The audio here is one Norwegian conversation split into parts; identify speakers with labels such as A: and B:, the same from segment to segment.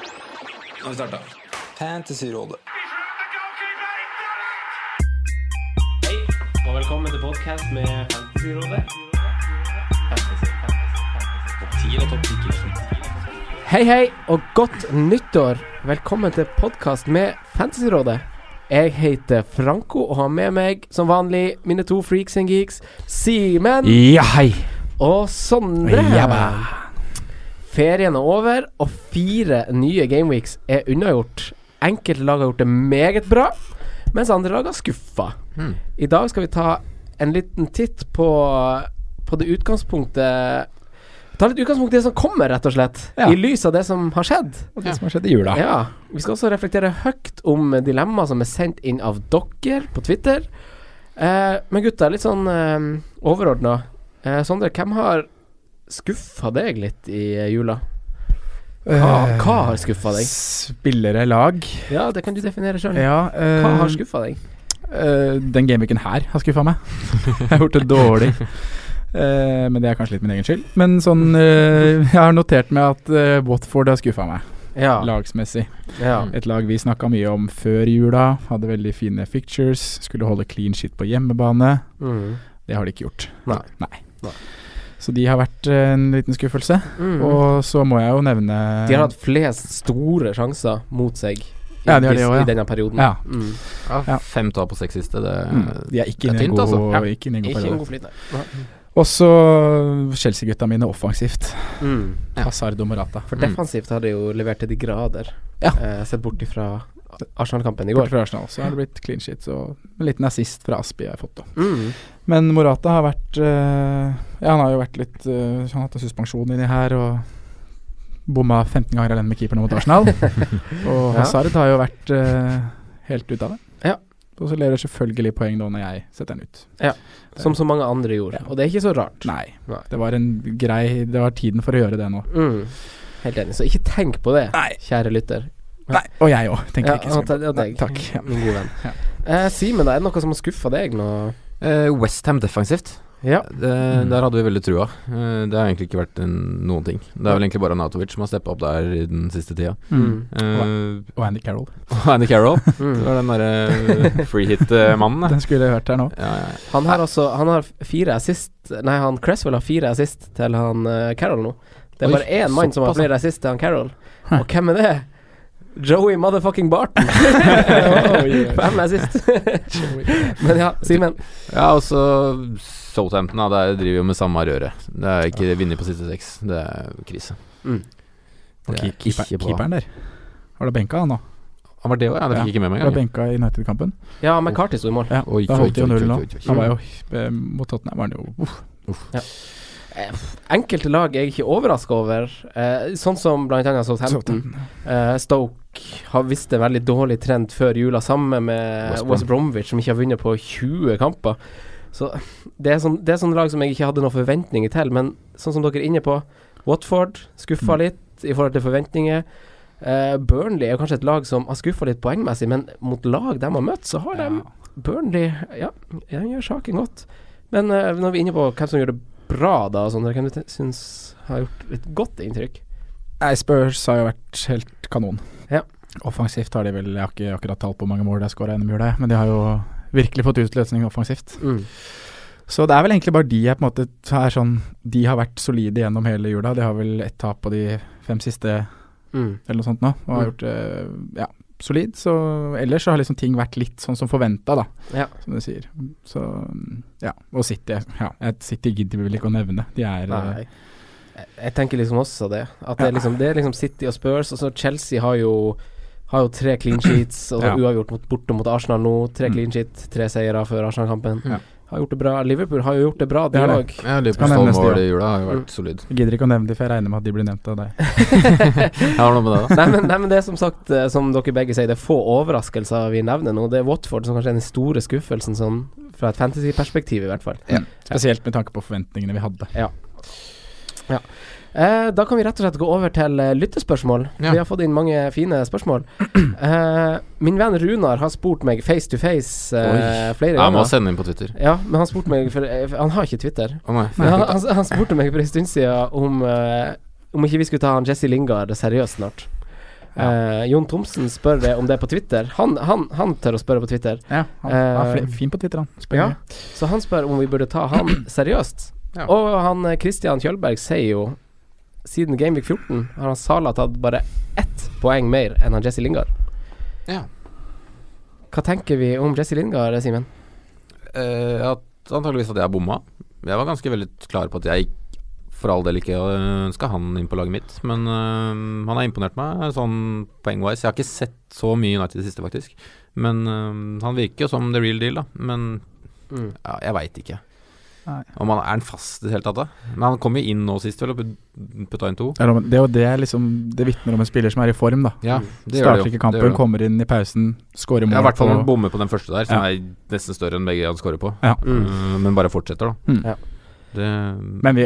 A: Nå har vi starta.
B: Fantasyrådet.
C: Hei, og velkommen til podcast med Fantasyrådet. Hei, hei, og godt nyttår. Velkommen til podcast med Fantasyrådet. Jeg heter Franco og har med meg, som vanlig, mine to freaks and geeks, Simen
D: Ja, hei.
C: og Sondre. Ferien er over, og fire nye gameweeks er unnagjort. Enkelte lag har gjort det meget bra, mens andre lag har skuffa. I dag skal vi ta en liten titt på, på det utgangspunktet Ta litt utgangspunkt i det som kommer, rett og slett.
D: Ja.
C: I lys av det som har skjedd.
D: Og det som har skjedd i jula.
C: Ja. Vi skal også reflektere høyt om dilemmaer som er sendt inn av dere på Twitter. Eh, men gutta, litt sånn eh, overordna. Eh, Sondre, hvem har skuffa deg litt i eh, jula? Hva,
D: Eh,
C: hva har skuffa deg?
D: Spillere, lag
C: Ja, det kan du definere sjøl.
D: Ja. eh,
C: Hva har skuffa deg?
D: eh, den gameweeken her har skuffa meg. jeg har gjort det dårlig. Eh, men det er kanskje litt min egen skyld. Men sånn eh, Jeg har notert meg at eh, Watford har skuffa meg,
C: Ja.
D: lagsmessig.
C: ja.
D: Et lag vi snakka mye om før jula. Hadde veldig fine fictures. Skulle holde clean shit på hjemmebane.
C: Mm.
D: Det har de ikke gjort.
C: Nei. Nei.
D: Så de har vært eh, en liten skuffelse.
C: Mm.
D: Og så må jeg jo nevne
C: de har hatt flest store sjanser mot seg i,
D: Ja, de har det
C: dis-
D: også, ja.
C: i denne perioden.
D: Ja.
C: Mm.
D: Ja.
A: Fem tap på seks siste. Det,
D: Mm, De er ikke inne
A: Eh, Det er
D: i en
A: tynt,
D: god,
A: altså.
C: Ja.
D: ikke inne i en god
C: Ikke en
D: periode.
C: god flyt, nei.
D: Også Chelsea-gutta mine offensivt.
C: Mm.
A: Ja.
D: Hazard og Morata.
C: For defensivt har de jo levert til de grader.
D: Mm. Ja.
C: Eh, sett bort ifra Arsenal-kampen i
D: Bort
C: går.
D: fra Arsenal så har det blitt clean shit og en liten assist fra Aspi har jeg fått. Da.
C: Mm.
D: Men Morata har vært eh, Ja, han har jo vært litt eh, Han har hatt en suspensjon inni her og bomma 15 ganger alene med keeperne mot Arsenal. og
C: Ja.
D: Hazard har jo vært eh, helt ute av det.
C: Ja.
D: Og så leverer selvfølgelig poeng da når jeg setter den ut.
C: Som så mange andre gjorde. Og det er ikke så rart.
D: Nei.
C: Nei.
D: Det var en grei Det var tiden for å gjøre det nå.
C: Mm. Helt enig. Så ikke tenk på det,
D: Nei.
C: kjære lytter.
D: Nei. Og jeg òg, tenker
C: Ja,
D: jeg ikke så
C: og
D: mye
C: deg- og
D: på. Nei,
C: deg.
D: Takk. Ja.
C: Min gode venn.
D: Ja.
C: Eh, Simen, da, er det noe som har skuffa deg nå?
A: Eh, Westham defensivt.
C: Ja.
A: Det,
D: Mm.
A: Der hadde vi veldig trua. Eh, det har egentlig ikke vært en, noen ting. Det er vel egentlig bare Natovic som har steppa opp der i den siste tida.
C: Mm.
A: Eh,
D: Og Andy Carroll.
A: og Andy Carroll. Det
C: Mm.
A: var den derre eh, free hit-mannen.
D: Den skulle jeg hørt her nå.
A: Ja, ja, ja.
C: Han har altså Han har fire assist Nei, han Cresswell har fire assist til han eh, Carroll nå. Det er
A: Oi,
C: bare én mann som har
A: såpass,
C: flere assist til han Carroll.
D: Hæ.
C: Og hvem er det? Joey motherfucking Barton.
D: Oi, oi.
C: Fem assist. Men ja, Simen.
A: ja og så Southampton. Da, der driver jo med samme røret. Det er ikke vinner på siste seks. Det er krise.
C: Mm.
D: Og
A: Det er
D: keep- keeper,
A: ikke bra.
D: keeperen der. Har du benka han nå?
A: Han var det òg, ja. Det fikk jeg ikke med meg
D: Har du
A: engang.
D: benka i United-kampen?
C: Ja, McCarthy sto i mål.
D: Ja,
A: Oi,
D: da
A: oi,
D: holdt de jo
A: oi,
D: nullen
A: oi,
D: nå.
A: oi, oi.
D: Han var jo eh, mot Tottenham var han jo uff.
C: Enkelte lag er jeg ikke overraska over, eh, sånn som blant annet Southampton. Eh, Stoke har vist en veldig dårlig trend før jula, sammen med
A: West Brom.
C: West Bromwich, som ikke har vunnet på 20 kamper. Så det er, sånn, det er sånne lag som jeg ikke hadde noen forventninger til, men sånn som dere er inne på, Watford
D: Mm.
C: skuffa litt i forhold til forventninger. Eh, Burnley er jo kanskje et lag som har skuffa litt poengmessig, men mot lag de har møtt, så har
D: Ja.
C: de Burnley Ja, han gjør saken godt. Men eh, når vi er inne på hvem som gjør det bra, da, og sånn, hvem du te- syns har gjort et godt inntrykk?
D: Nei, Spurs har jo vært helt kanon.
C: Ja.
D: Offensivt har de vel Jeg har ikke akkurat tall på hvor mange mål de har skåra gjennom jula, men de har jo virkelig fått utløsning offensivt.
C: Mm.
D: Så det er vel egentlig bare de jeg på en måte er sånn De har vært solide gjennom hele jula. De har vel ett tap på de fem siste
C: Mm.
D: eller noe sånt nå, og har
C: Mm.
D: gjort det ja, solid. Så ellers så har liksom ting vært litt sånn som forventa, da,
C: Ja.
D: som du sier. Så ja. Og City. Ja, jeg- City gidder vi vel ikke å nevne. De er eh,
C: Nei. Jeg, jeg tenker liksom også det. At det er
D: Ja.
C: liksom, det er liksom City og Spurs, og så Chelsea har jo har jo tre clean sheets, og så
D: Ja.
C: uavgjort mot, borte mot Arsenal nå. Tre
D: Mm.
C: clean sheet, tre seire før Arsenal-kampen.
A: Ja.
C: Har gjort det bra. Liverpool har jo gjort det bra, de
D: Det har
C: òg.
D: det.
A: Ja,
D: Han
A: Liverpools
D: er
A: tolv
D: neste,
A: mål
D: ja.
A: i jula har jo
C: Mm.
A: vædt solid.
D: jeg Gidder ikke å nevne dem, for jeg regner med at de blir nevnt av deg.
A: Jeg har noe med det, da.
C: nei, men, nei, men det er som sagt, eh, som dere begge sier, det er få overraskelser vi nevner nå. Det er Watford som kanskje er den store skuffelsen, sånn fra et fantasy-perspektiv i hvert fall.
D: Spesielt med tanke på forventningene vi hadde.
C: Eh, da kan vi rett og slett gå over til eh, lyttespørsmål.
A: Ja.
C: Vi har fått inn mange fine spørsmål. Eh, min venn Runar har spurt meg face to face eh, flere
A: Jeg må
C: ganger.
A: sende inn på Twitter.
C: Ja, men han spurte meg for, eh, for Han har ikke Twitter.
A: Å nei.
C: Men han, han, han spurte meg for en stund siden om, eh, om ikke vi skulle ta han Jesse Lingard seriøst snart. Eh, Jon Thomsen spør det om det er på Twitter. Han, han, han tør å spørre på Twitter.
D: Ja, han er
C: Eh,
D: fli- fin på Twitter, han. Spør
C: Ja.
D: mye.
C: Så han spør om vi burde ta han seriøst.
A: Ja.
C: Og han eh, Christian Kjølberg sier jo siden Gameweek 14 har han Sala tatt bare ett poeng mer enn han Jesse Lingard.
A: Ja.
C: Hva tenker vi om Jesse Lingard, Simen?
A: Eh, at antageligvis at jeg bomma. Jeg var ganske veldig klar på at jeg ikke, for all del ikke ønska han inn på laget mitt, men eh, han har imponert meg sånn poengwise. Jeg har ikke sett så mye United i det siste, faktisk. Men eh, han virker jo som the real deal, da. Men ja, jeg veit ikke.
D: Nei.
A: Om han er han fast i det hele tatt, da. Men han kom jo inn nå sist, vel, og put- putta inn to.
D: Det er noe med- det, er jo det, liksom, det vitner om en spiller som er i form, da.
A: Ja, det gjør
D: Mm. Starter
A: det jo.
D: ikke kampen,
A: det gjør det.
D: kommer inn i pausen, scorer mål.
A: Ja, I hvert fall når han
D: på-
A: bommer på den første der, som er nesten større enn begge han scorer på.
D: Ja.
C: Mm.
A: Eh, men bare fortsetter, da.
D: Mm.
C: Ja.
A: Det,
D: Men vi,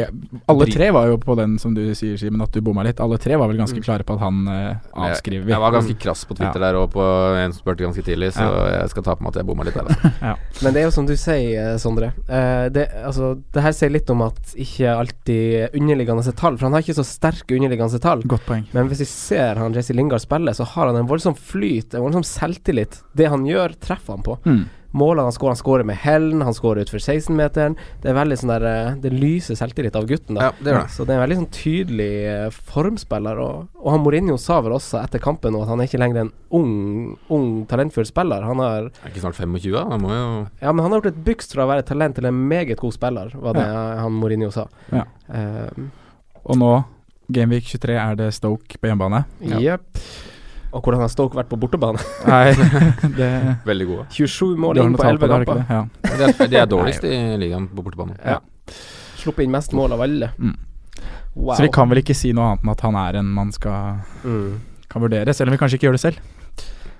D: alle
A: Drit.
D: tre var jo på den som du sier, Simen, at du bomma litt. Alle tre var vel ganske
C: Mm.
D: klare på at han eh, avskriver. vi.
A: Jeg var ganske krass på Twitter der og på en som spurte ganske tidlig, så jeg skal ta på meg at jeg bomma litt der. Altså.
C: Men det er jo som du sier, eh, Sondre. Eh, det, altså, det her sier litt om at ikke alltid underliggende tall For han har ikke så sterke underliggende tall.
D: Godt poeng.
C: Men hvis vi ser han Jesse Lingard spille, så har han en voldsom flyt, en voldsom selvtillit. Det han gjør, treffer han på.
D: Mm.
C: Målene han skårer, han skårer med hellen, han skårer utfor 16-meteren. Det er veldig sånn der eh, Det lyser selvtillit av gutten, da.
A: Ja, det gjør det.
C: Så det er en veldig sånn tydelig eh, formspiller. Og, og han Mourinho sa vel også etter kampen nå at han er ikke lenger en ung, ung talentfull spiller. Han har
A: Er ikke snart 25, da? Da må jo
C: Ja, men han har gjort et byks fra å være talent til en meget god spiller, var det han Mourinho sa.
D: Ja.
C: Eh,
D: Og nå, Gameweek 23, er det Stoke på hjemmebane.
C: Jepp. Og hvordan har Stoke vært på bortebane?
D: Nei, det
A: Veldig gode.
C: 27
D: du
C: mål
D: har
C: inn
D: noe
C: på
D: tall
C: 11
D: på det, har du ikke
C: kamper.
D: det? Ja.
A: De er, de er dårligst i ligaen på bortebane.
C: Ja. Sluppet inn mest mål av alle.
D: Mm.
C: Wow.
D: Så vi kan vel ikke si noe annet enn at han er en man skal,
C: mm.
D: kan vurdere, selv om vi kanskje ikke gjør det selv.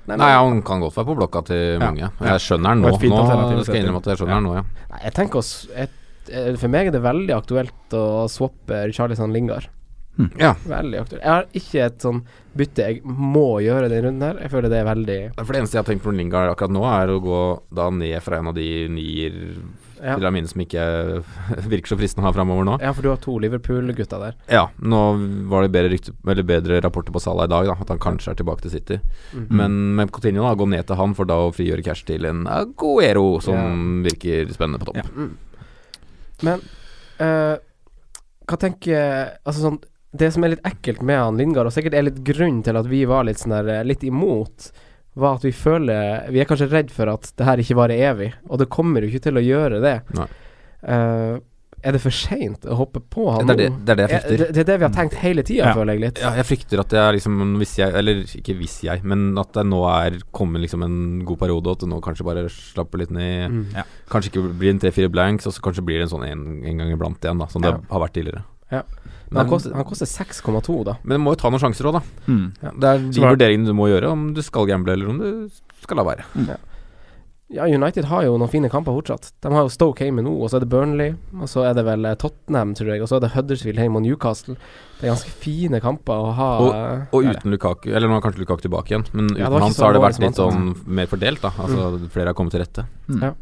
C: Nei,
A: Nei,
C: men-
A: han kan godt være på blokka til mange. Jeg skjønner den nå.
D: Det var et fint alternativ
A: nå skal
D: å
A: jeg
D: sette
A: innrømme at jeg skjønner
D: inn.
A: den nå, ja.
C: Nei, jeg tenker oss et, eh, For meg er det veldig aktuelt å swappe Charlison Lingard.
D: Hmm.
A: Ja.
C: Veldig aktuelt. Jeg har ikke et sånn bytte jeg må gjøre den runden her. Jeg føler det er veldig
A: For det eneste jeg har tenkt på med Lingard akkurat nå, er å gå da ned fra en av de nier
C: Ja,
A: spillerne mine som ikke virker så fristende å ha framover nå.
C: ja for du har to Liverpool-gutter der.
A: Ja, nå var det bedre, rykte, eller bedre rapporter på Salah i dag, da, at han kanskje er tilbake til City.
C: Mhm.
A: Men med Coutinho da, gå ned til han for da å frigjøre cash til en Aguero som virker spennende på topp.
D: Ja.
C: Mm. Men eh, hva tenker Altså sånn Det som er litt ekkelt med han Lingard, og sikkert er litt grunnen til at vi var litt sånn der eh, litt imot, var at vi føler Vi er kanskje redd for at det her ikke varer evig, og det kommer jo ikke til å gjøre det.
A: Nei.
C: Eh, er det for seint å hoppe på han
A: Det, er det,
C: nå?
A: det er det jeg
C: Eh,
A: frykter.
C: det, det er det vi har tenkt hele tida,
D: Ja.
C: føler jeg litt.
A: Ja, jeg frykter at jeg liksom Hvis jeg, eller ikke hvis jeg, men at det nå er kommet liksom en god periode, og at det nå kanskje bare slapper litt ned.
C: Mm.
A: Kanskje ikke blir en tre-fire blanks, og så kanskje blir det en sånn en, en gang iblant igjen, da, som
C: Ja.
A: det har vært tidligere.
C: Ja. Men
A: Men,
C: han koster, han koster 6,2, da.
A: men du må jo ta noen sjanser òg, da.
D: Mm.
A: Det er de
D: Så var-
A: vurderingene du må gjøre, om du skal gamble eller om du skal la være.
C: Ja, United har jo noen fine kamper fortsatt. De har jo Stoke hjemme nå, og så er det Burnley. Og så er det vel eh, Tottenham, tror jeg, og så er det Huddersfield hjemme og Newcastle. Det er ganske fine kamper å ha. eh,
A: Og
D: Det er
A: uten Lukaku, eller nå er kanskje Lukaku tilbake igjen, men uten
C: Ja, det var ikke
A: han
C: så
A: så har det vært
C: alvorlig
A: litt
C: som
A: sånn mer fordelt, da. Altså flere har kommet til rette.
D: Mm.
C: Ja.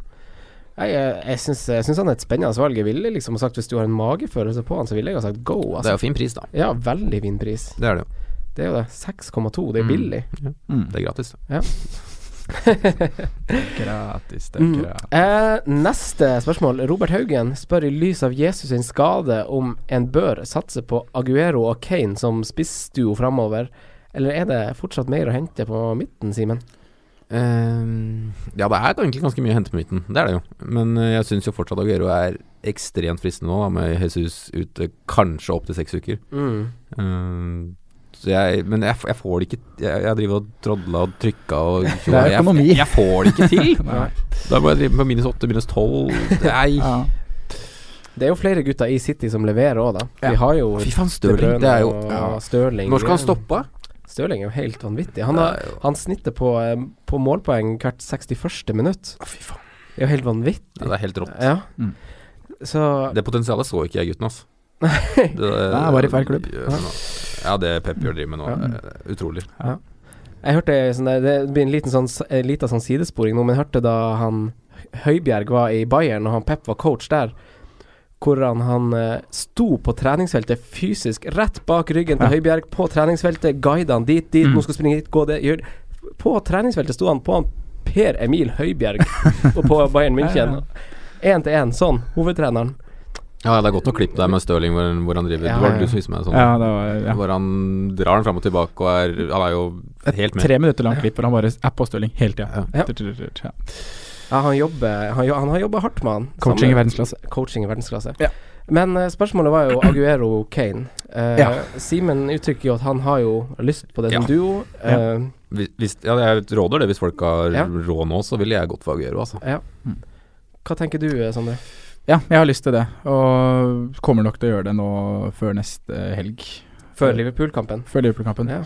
C: Jeg, jeg, jeg syns jeg syns han er et spennende valg. Jeg ville liksom ha sagt hvis du har en magefølelse på han, så ville jeg ha sagt go.
A: Det er
C: Altså.
A: jo fin pris, da.
C: Ja, veldig fin pris.
A: Det er det jo.
C: Det er jo det. 6,2, det
A: Mm.
C: er billig.
D: Mm.
A: Det er gratis.
D: Gratis, det er
C: Mm.
D: gratis.
C: Eh, neste spørsmål. Robert Haugen spør i lys av Jesus sin skade om en bør satse på Aguero og Kane som spissduo framover, eller er det fortsatt mer å hente på midten, Simen?
A: Ehm, ja, det er egentlig ganske mye å hente på midten. Det er det jo. Men eh, jeg syns jo fortsatt Aguero er ekstremt fristende nå, da, med Jesus ute kanskje opptil seks uker. Ehm, så jeg, men jeg, f- jeg får det ikke Jeg, jeg driver og trodla og trykka og
D: Det er økonomi.
A: Jeg, jeg får det ikke til!
C: Nei.
A: Da må jeg drive med minus åtte, minus tolv Nei.
D: Ja.
C: Det er jo flere gutter i City som leverer òg, da.
D: Ja.
C: Vi har jo
A: Fy faen,
C: De Bruyne
A: Stirling. Det er jo
C: og
A: ja.
C: Stirling.
A: Når skal han stoppe?
C: Stirling er jo helt vanvittig. Han, har, han snitter på, eh, på målpoeng hvert 61. minutt.
A: Å, Fy faen.
C: Det er jo helt
A: Ja,
C: vanvittig.
A: det er helt rått.
C: Ja.
D: Mm.
C: Så
A: Det potensialet så ikke jeg gutten, altså.
D: Nei, bare i feil klubb.
A: Ja, det Pep gjør driver med nå. er Utrolig.
C: Jeg hørte sånn der, Det blir en liten sånn, s- eh, liten sånn sidesporing nå, men jeg hørte da han Høibjerg var i Bayern og han Pep var coach der, hvordan han eh, sto på treningsfeltet fysisk, rett bak ryggen til Høibjerg, på treningsfeltet, guida han dit, dit,
D: Mm.
C: nå skal du springe hit, gå det, gjør det. På treningsfeltet sto han på han Per Emil Høibjerg og på Bayern München. Én til én, sånn, hovedtreneren.
A: Ja, det er godt å klippe deg med Stirling hvor, hvor han driver.
C: Ja,
A: det var
D: ja.
A: det du som viste meg sånn.
D: Ja, det var ja.
A: Hvor han drar den fram og tilbake og er Han er jo helt med.
D: Tre minutter langt klipp hvor han bare er på Stirling hele tida.
C: Ja.
D: Ja.
C: Ja, han jobber han, jo- han har jobba hardt med han.
D: Coaching i
C: Sammen-
D: verdensklasse.
C: coaching i verdensklasse.
D: Ja.
C: Men eh, spørsmålet var jo Aguero Kane. Eh,
D: Ja.
C: Simen uttrykker jo at han har jo lyst på det
A: Ja.
C: som duo. Eh,
A: Hvis, hvis- ja, jeg råder det hvis folk har
C: Ja.
A: råd nå, så ville jeg gått for Aguero, altså.
C: Hva tenker du, eh, Sondre?
D: Ja, jeg har lyst til det, og kommer nok til å gjøre det nå før neste helg.
C: Før Liverpool-kampen?
D: Før Liverpool-kampen.
C: Ja.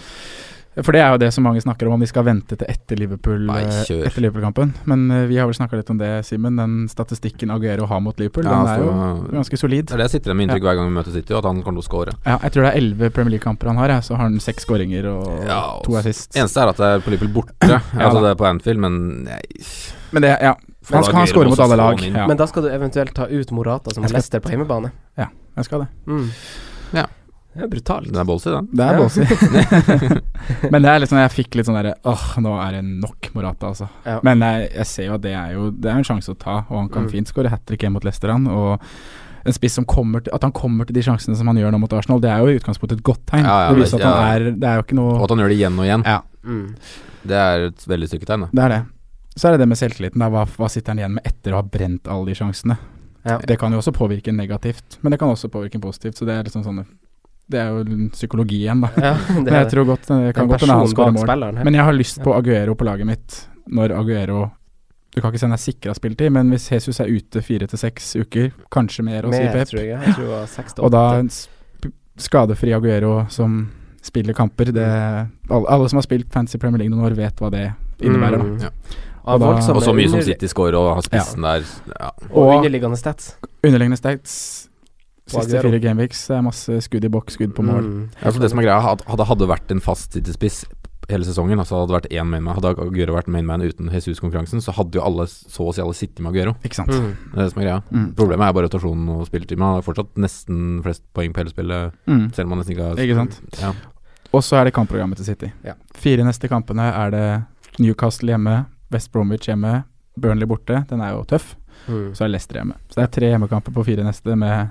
D: For det er jo det som mange snakker om, om de skal vente til etter Liverpool,
A: Nei,
D: eh,
A: kjør.
D: etter Liverpool-kampen. Men eh, vi har vel snakka litt om det, Simen. Den statistikken Aguero har mot Liverpool,
A: Ja,
D: den er jo
A: altså,
D: ganske
A: det
D: solid.
A: er det jeg sitter igjen med inntrykk hver gang vi møter City, at han kommer til å score.
D: Ja, jeg tror det er elleve Premier League-kamper han har, ja, så har han seks skåringer og
A: Ja, og
D: to assist.
A: Eneste er at det er på Liverpool borte. altså
D: da.
A: det er på Anfield, men nei,
D: Men det, ja.
A: Få
D: Han skal, han
A: Aguero
D: scorer mot
A: også,
D: alle
A: få
D: lag.
A: han inn.
D: Ja,
C: Men da skal du eventuelt ta ut Morata som
D: Jeg skal-
C: Leicester på hjemmebane.
D: jeg skal det.
C: Mm.
A: Ja.
C: Det er brutalt.
A: den er ballsy, den.
D: Det er
C: Ja.
D: ballsy. Men det er litt sånn jeg fikk litt sånn derre Åh, nå er det nok Morata, altså.
C: Ja.
D: Men jeg, jeg ser jo at det er jo Det er jo en sjanse å ta, og han kan
C: Mm.
D: fint skåre hat trick hjemme mot Leicester, han. Og en spiss som kommer til At han kommer til de sjansene som han gjør nå mot Arsenal, det er jo i utgangspunktet et godt tegn.
A: Ja, ja,
D: det viser at
A: ja.
D: han er Det er jo ikke
A: Og
D: noe
A: at han gjør det igjen og igjen.
C: Mm.
A: Det er et veldig styrketegn. da.
D: Det er det. Så er det det med selvtilliten. Da. Hva, hva sitter han igjen med etter å ha brent alle de sjansene?
C: Ja.
D: Det kan jo også påvirke negativt, men det kan også påvirke positivt. Så det er liksom sånn Det er jo psykologi igjen, da.
C: Ja, det
D: Men jeg
C: er
D: tror godt eh, det
C: det er
D: kan
C: en
D: godt hende han
C: person
D: skårer
C: bak
D: mål.
C: spilleren her.
D: Men jeg har lyst på Aguero på laget mitt når Aguero Du kan ikke si han er sikra spilletid, men hvis Jesus er ute fire til seks uker, kanskje mer, og sier
C: Med,
D: Pep,
C: tror jeg. Jeg tror det var seks til
D: og da
C: åtte.
D: en sp skadefri Aguero som spiller kamper det, alle, alle som har spilt Fancy Premier League noen år, vet hva det innebærer. da.
C: Mm.
A: Ja.
C: Av
D: Og da-
C: voldsomme
A: Og så mye som
C: under-
A: City scorer og har spissen der. Ja.
C: Og
D: Og-
C: underliggende stats.
D: Underliggende stats siste
C: Aguero.
D: fire gameweeks, det er masse skudd i boks, skudd på mål.
C: Mm.
A: Altså det som er greia, had- hadde hadde vært en fast City-spiss hele sesongen, altså hadde det vært én mainman, hadde Aguero vært mainman uten Jesus-konkurransen, så hadde jo alle så å si alle sittet med Aguero.
D: Ikke sant.
C: Mm.
A: Det er det som er greia.
D: Mm.
A: Problemet er bare rotasjonen og spilletid. Men han har fortsatt nesten flest poeng på hele spillet,
D: Mm.
A: selv om han nesten ikke har
D: Ikke sant.
A: Ja.
D: Og så er det kampprogrammet til City.
C: Ja.
D: Fire neste kampene er det Newcastle hjemme, West Bromwich hjemme, Burnley borte. Den er jo tøff.
C: Mm.
D: Så er Leicester hjemme. Så det er tre hjemmekamper på fire neste med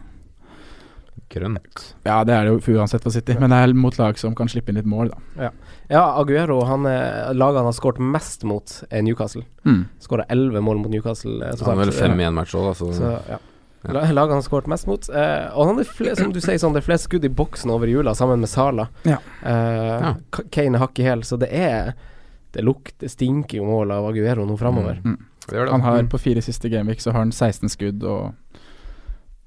A: grønt.
D: Ja, det er det jo uansett for City, men det er mot lag som kan slippe inn litt mål, da.
C: Ja, Aguero, han er laget han har skåret mest mot, er Newcastle. Skåra elleve mål mot Newcastle. eh,
A: Så han er vel
C: totalt.
A: fem i en match òg, da.
C: Så,
A: Så
C: ja.
A: Ja.
C: La- Laget han har skåret mest mot. Eh, og han er fle- som du sier, sånn, det er flest skudd i boksen over jula, sammen med Sala.
D: Ja.
C: Eh,
A: Ja.
C: K- Kane er hakk i hæl, så det er Det lukter, stinker jo mål av Aguero nå framover.
A: det gjør det.
D: Han har
C: Mm.
D: på fire siste gameweek så har han 16 skudd og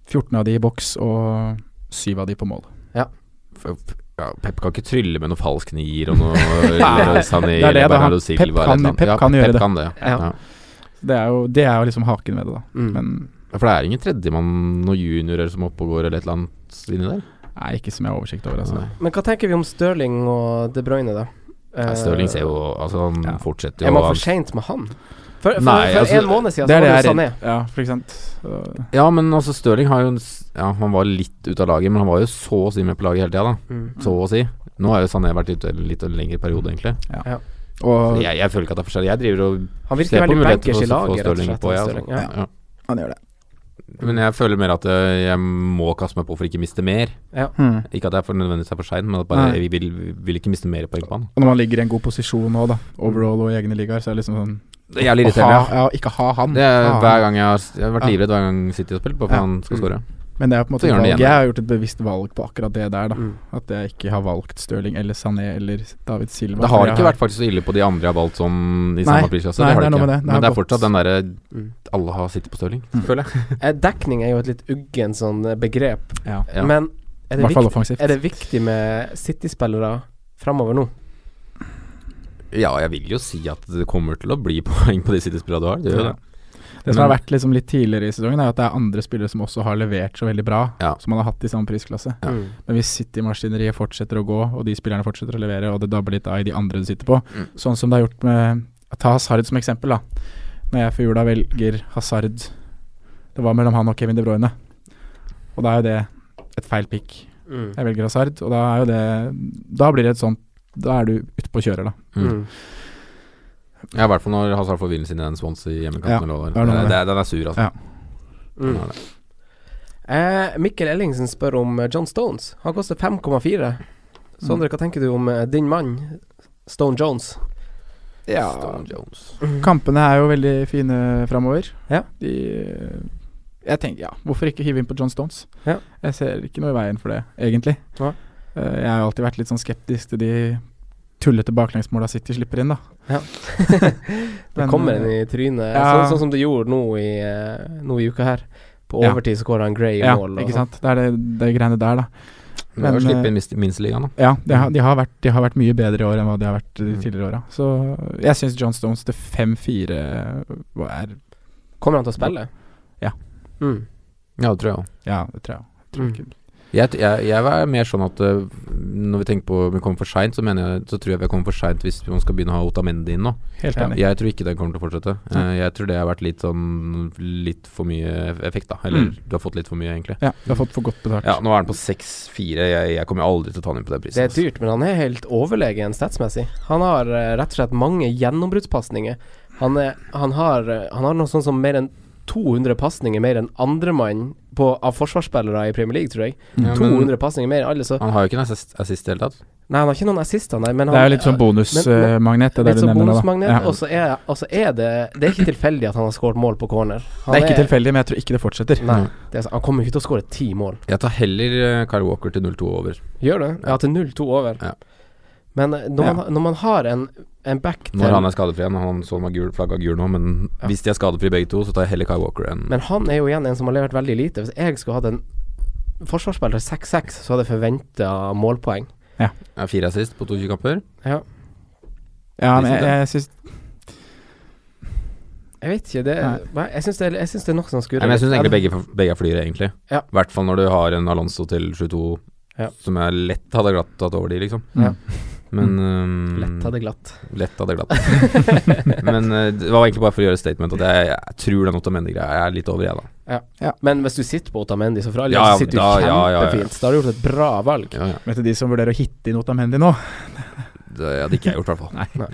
D: 14 av de i boks og 7 av de på mål.
A: F- f- Ja, Pep kan ikke trylle med noen falsk nier og noe
D: Nei,
A: Sané
D: det
A: eller
D: er det, da. Han-
A: Bernardo Silva eller et
D: Pep kan-
A: eller annet.
D: Pep
A: Ja,
D: kan gjøre det.
A: Kan det.
C: Ja.
A: Ja.
D: Det er jo, det er jo liksom haken ved det, da.
C: Mm.
D: Men
A: Ja, For det er ingen tredjemann, noen juniorer som er oppe og går eller et eller annet inni der.
D: nei, ikke som jeg har oversikt over, altså.
A: Nei.
C: Men hva tenker vi om Stirling og De Bruyne, da? Eh,
A: Nei, Stirling ser jo Altså, han
D: Ja.
A: fortsetter
C: Er
A: jo
C: man for
A: han-
C: seint med han? For, for,
A: Nei,
C: for
A: altså,
C: en måned
D: Det er det
C: siden så var
D: jeg er
C: det jo Sané.
D: redd Ja, for ikke sant. Så-
A: Ja, men altså, Stirling har jo en s- Ja, han var litt ute av laget, men han var jo så å si med på laget hele tida, da.
C: Mm.
A: Så å si. Nå har jo Sané vært ute en litt lengre periode, egentlig.
D: Og
A: Jeg, jeg føler ikke at det er forskjell. Jeg driver og
C: Han
A: ser
C: virker
A: på
C: veldig
A: muligheter
C: bankers
A: for
C: i
A: å få
C: laget, rett og
A: Stirling
C: slett.
A: på. Ja,
C: han
A: altså.
C: Stirling, ja.
A: ja.
D: han gjør det.
A: Men jeg føler mer at øh, jeg må kaste meg på for ikke miste mer.
D: Hmm.
A: Ikke at jeg for nødvendigvis er for sein, men at bare
D: Nei.
A: jeg vil, vil ikke miste mer poeng på han.
D: Og når man ligger i en god posisjon nå, da, overall og i egne ligaer, så er det liksom sånn
A: Det er jævlig
D: å ha,
A: irriterende. ja.
D: ja, Ikke ha han.
A: Det er
D: ha han.
A: hver gang jeg har, jeg har vært
D: Ja.
A: livredd hver gang City har spilt, bare for
D: Ja.
A: han skal
C: Mm.
A: score.
D: Men det er på en måte
A: Så
D: et
A: gjør han det
D: valg.
A: igjen, da.
D: Jeg har gjort et bevisst valg på akkurat det der, da.
C: Mm.
D: At jeg ikke har valgt Stirling eller Sané eller David
A: Det
D: Silva. For
A: har
D: jeg
A: ikke vært faktisk så ille på de andre jeg har valgt som i
D: Nei.
A: samme prisklasse.
D: Nei,
A: Det har
D: det
A: det
D: er noe
A: ikke.
D: med det. Det
A: Men
D: har
A: det er
D: gått-
A: fortsatt den derre
C: Mm.
A: alle har City på Stirling,
D: Mm.
A: føler jeg.
C: Eh, Dekning er jo et litt uggen sånn eh, begrep,
D: ja.
A: Ja.
C: men
D: I
C: er det,
D: hvert fall
C: viktig,
D: offensivt.
C: er det viktig med City-spillere framover nå?
A: Ja, jeg vil jo si at det kommer til å bli poeng på de City-spillerne du har. Det gjør jo
D: Ja.
A: det.
D: Det som har
A: Men-
D: vært liksom litt tidligere i sesongen, er at det er andre spillere som også har levert så veldig bra,
A: Ja.
D: som man har hatt i samme prisklasse.
A: Ja.
C: Mm.
D: Men hvis City-maskineriet fortsetter å gå, og de spillerne fortsetter å levere, og det dabler litt av i de andre du sitter på,
A: Mm.
D: sånn som det har gjort med Ta Hazard som eksempel, da. Når jeg før jula velger Hazard Det var mellom han og Kevin De Bruyne. Og da er jo det et feil pick.
C: Mm.
D: Jeg velger Hazard, og da er jo det Da blir det et sånt Da er du ute på kjører, da.
A: Mm. Ja, i hvert fall når Hazard får hvilen sin i den Swansea
D: Ja,
A: hjemmekampen.
D: det er noe
A: Ja,
D: med
A: den er sur, altså.
D: Ja.
A: Den
C: Mm.
A: er det.
C: Eh, Mikkel Ellingsen spør om eh, John Stones. Han koster 5,4. Sondre, hva tenker du om eh, din mann, Stone Jones?
A: Stone Jones.
D: Kampene er jo veldig fine framover.
C: Ja.
D: De Jeg tenker, ja, hvorfor ikke hive inn på John Stones?
C: Ja.
D: Jeg ser ikke noe i veien for det, egentlig.
C: Nei.
D: Eh, Jeg har jo alltid vært litt sånn skeptisk til de tullete baklengsmåla City slipper inn, da.
C: Ja. Det
D: Men, eh,
C: kommer en i trynet,
D: ja.
C: sånn, sånn som det gjorde nå i, eh, nå i uka her. På
D: Ja.
C: overtid så skåra han Gray i
D: ja,
C: mål. og
D: ikke
C: sånn.
D: sant. Det er det, det greiene der, da.
A: Men,
D: Men,
A: men slippe
D: eh,
A: inn minst- minsteligaen, da.
D: Ja, de har, de, har vært, de har vært mye bedre i år enn hva de har vært de
A: Mm.
D: tidligere åra. Så jeg syns John Stones til 5-4 er
C: Kommer han til å spille?
D: Ja.
C: Mm.
A: Ja, det tror jeg òg.
D: Ja, det tror jeg. Tror ikke.
A: Jeg, t- jeg, jeg er mer sånn at øh, når vi tenker på om vi kommer for seint, så, mener jeg- så tror jeg vi kommer for seint hvis man skal begynne å ha Otamendi inn nå.
D: Helt enig.
A: Jeg tror ikke den kommer til å fortsette. Eh, Jeg tror det har vært litt sånn litt for mye effekt, da. Eller
D: Mm.
A: du har fått litt for mye, egentlig.
D: Ja, du har fått for godt betalt.
A: Ja, nå er den på 6-4. Jeg, jeg kommer aldri til å ta den inn på den prisen.
C: Det er
A: altså.
C: dyrt, men han er helt overlegen statsmessig. Han har eh, rett og slett mange gjennombruddspasninger. Han, er- han, har, eh, han har noe sånn som mer enn 200 pasninger mer enn andremann av forsvarsspillere i Premier League, tror jeg.
A: Ja, men
C: 200 pasninger mer enn alle, så
A: Han har jo ikke en assist, assist i det hele tatt.
C: Nei, han har ikke noen assister, nei, men han
D: Det er jo litt sånn
C: men- men-
D: bonusmagnet, det
C: Litt
D: der du
C: sånn
D: nevner nå, da.
C: bonusmagnet,
D: Ja.
C: og så er, og så er det Det er ikke tilfeldig at han har skåret mål på corner. Han
D: Det er ikke tilfeldig, men jeg tror ikke det fortsetter.
C: Nei,
A: Mm.
C: det er, så- han kommer jo ikke til å skåre ti mål.
A: Jeg tar heller eh, Kyle Walker til 0-2 over.
C: Gjør det? Ja, til 0-2 over.
A: Ja.
C: Men eh, når,
D: Ja.
C: man, når man har en, en back til
A: Når han er skadefri igjen. Han så han var gul, flagga gul nå, men
C: Ja.
A: hvis de er skadefri begge to, så tar jeg heller Kyle Walker enn
C: Men han er jo igjen en som har levert veldig lite. Hvis jeg skulle hatt en forsvarsspiller 6-6, så hadde jeg forventa målpoeng.
A: Ja, fire assist på 22 kamper.
C: Ja,
D: Ja, men jeg,
A: Visst er
D: jeg syns
C: jeg vet ikke. Det,
D: Nei.
C: nei, jeg syns det, er- jeg syns det er noe som skurrer.
A: Nei, men jeg
C: litt.
A: syns egentlig begge, begge er flyere, egentlig. I
C: Ja.
A: hvert fall når du har en Alonso til 22
C: Ja.
A: som jeg lett hadde glatt tatt over de, liksom.
D: Ja.
A: Men um,
C: Lett hadde glatt.
A: lett hadde glatt. men uh, det var egentlig bare for å gjøre et statement at jeg, jeg tror den Otamendi-greia er litt over, jeg, da.
C: Men hvis du sitter på Otamendi, så for all del
A: Ja, ja,
C: så sitter du
A: da-
C: kjempefint.
A: ja, ja, ja.
C: Da har du gjort et bra valg.
A: Ja, ja.
D: Vet du de som vurderer å hitte inn Otamendi nå?
A: Det hadde ikke jeg gjort, i hvert fall.
D: Nei.
C: Nei.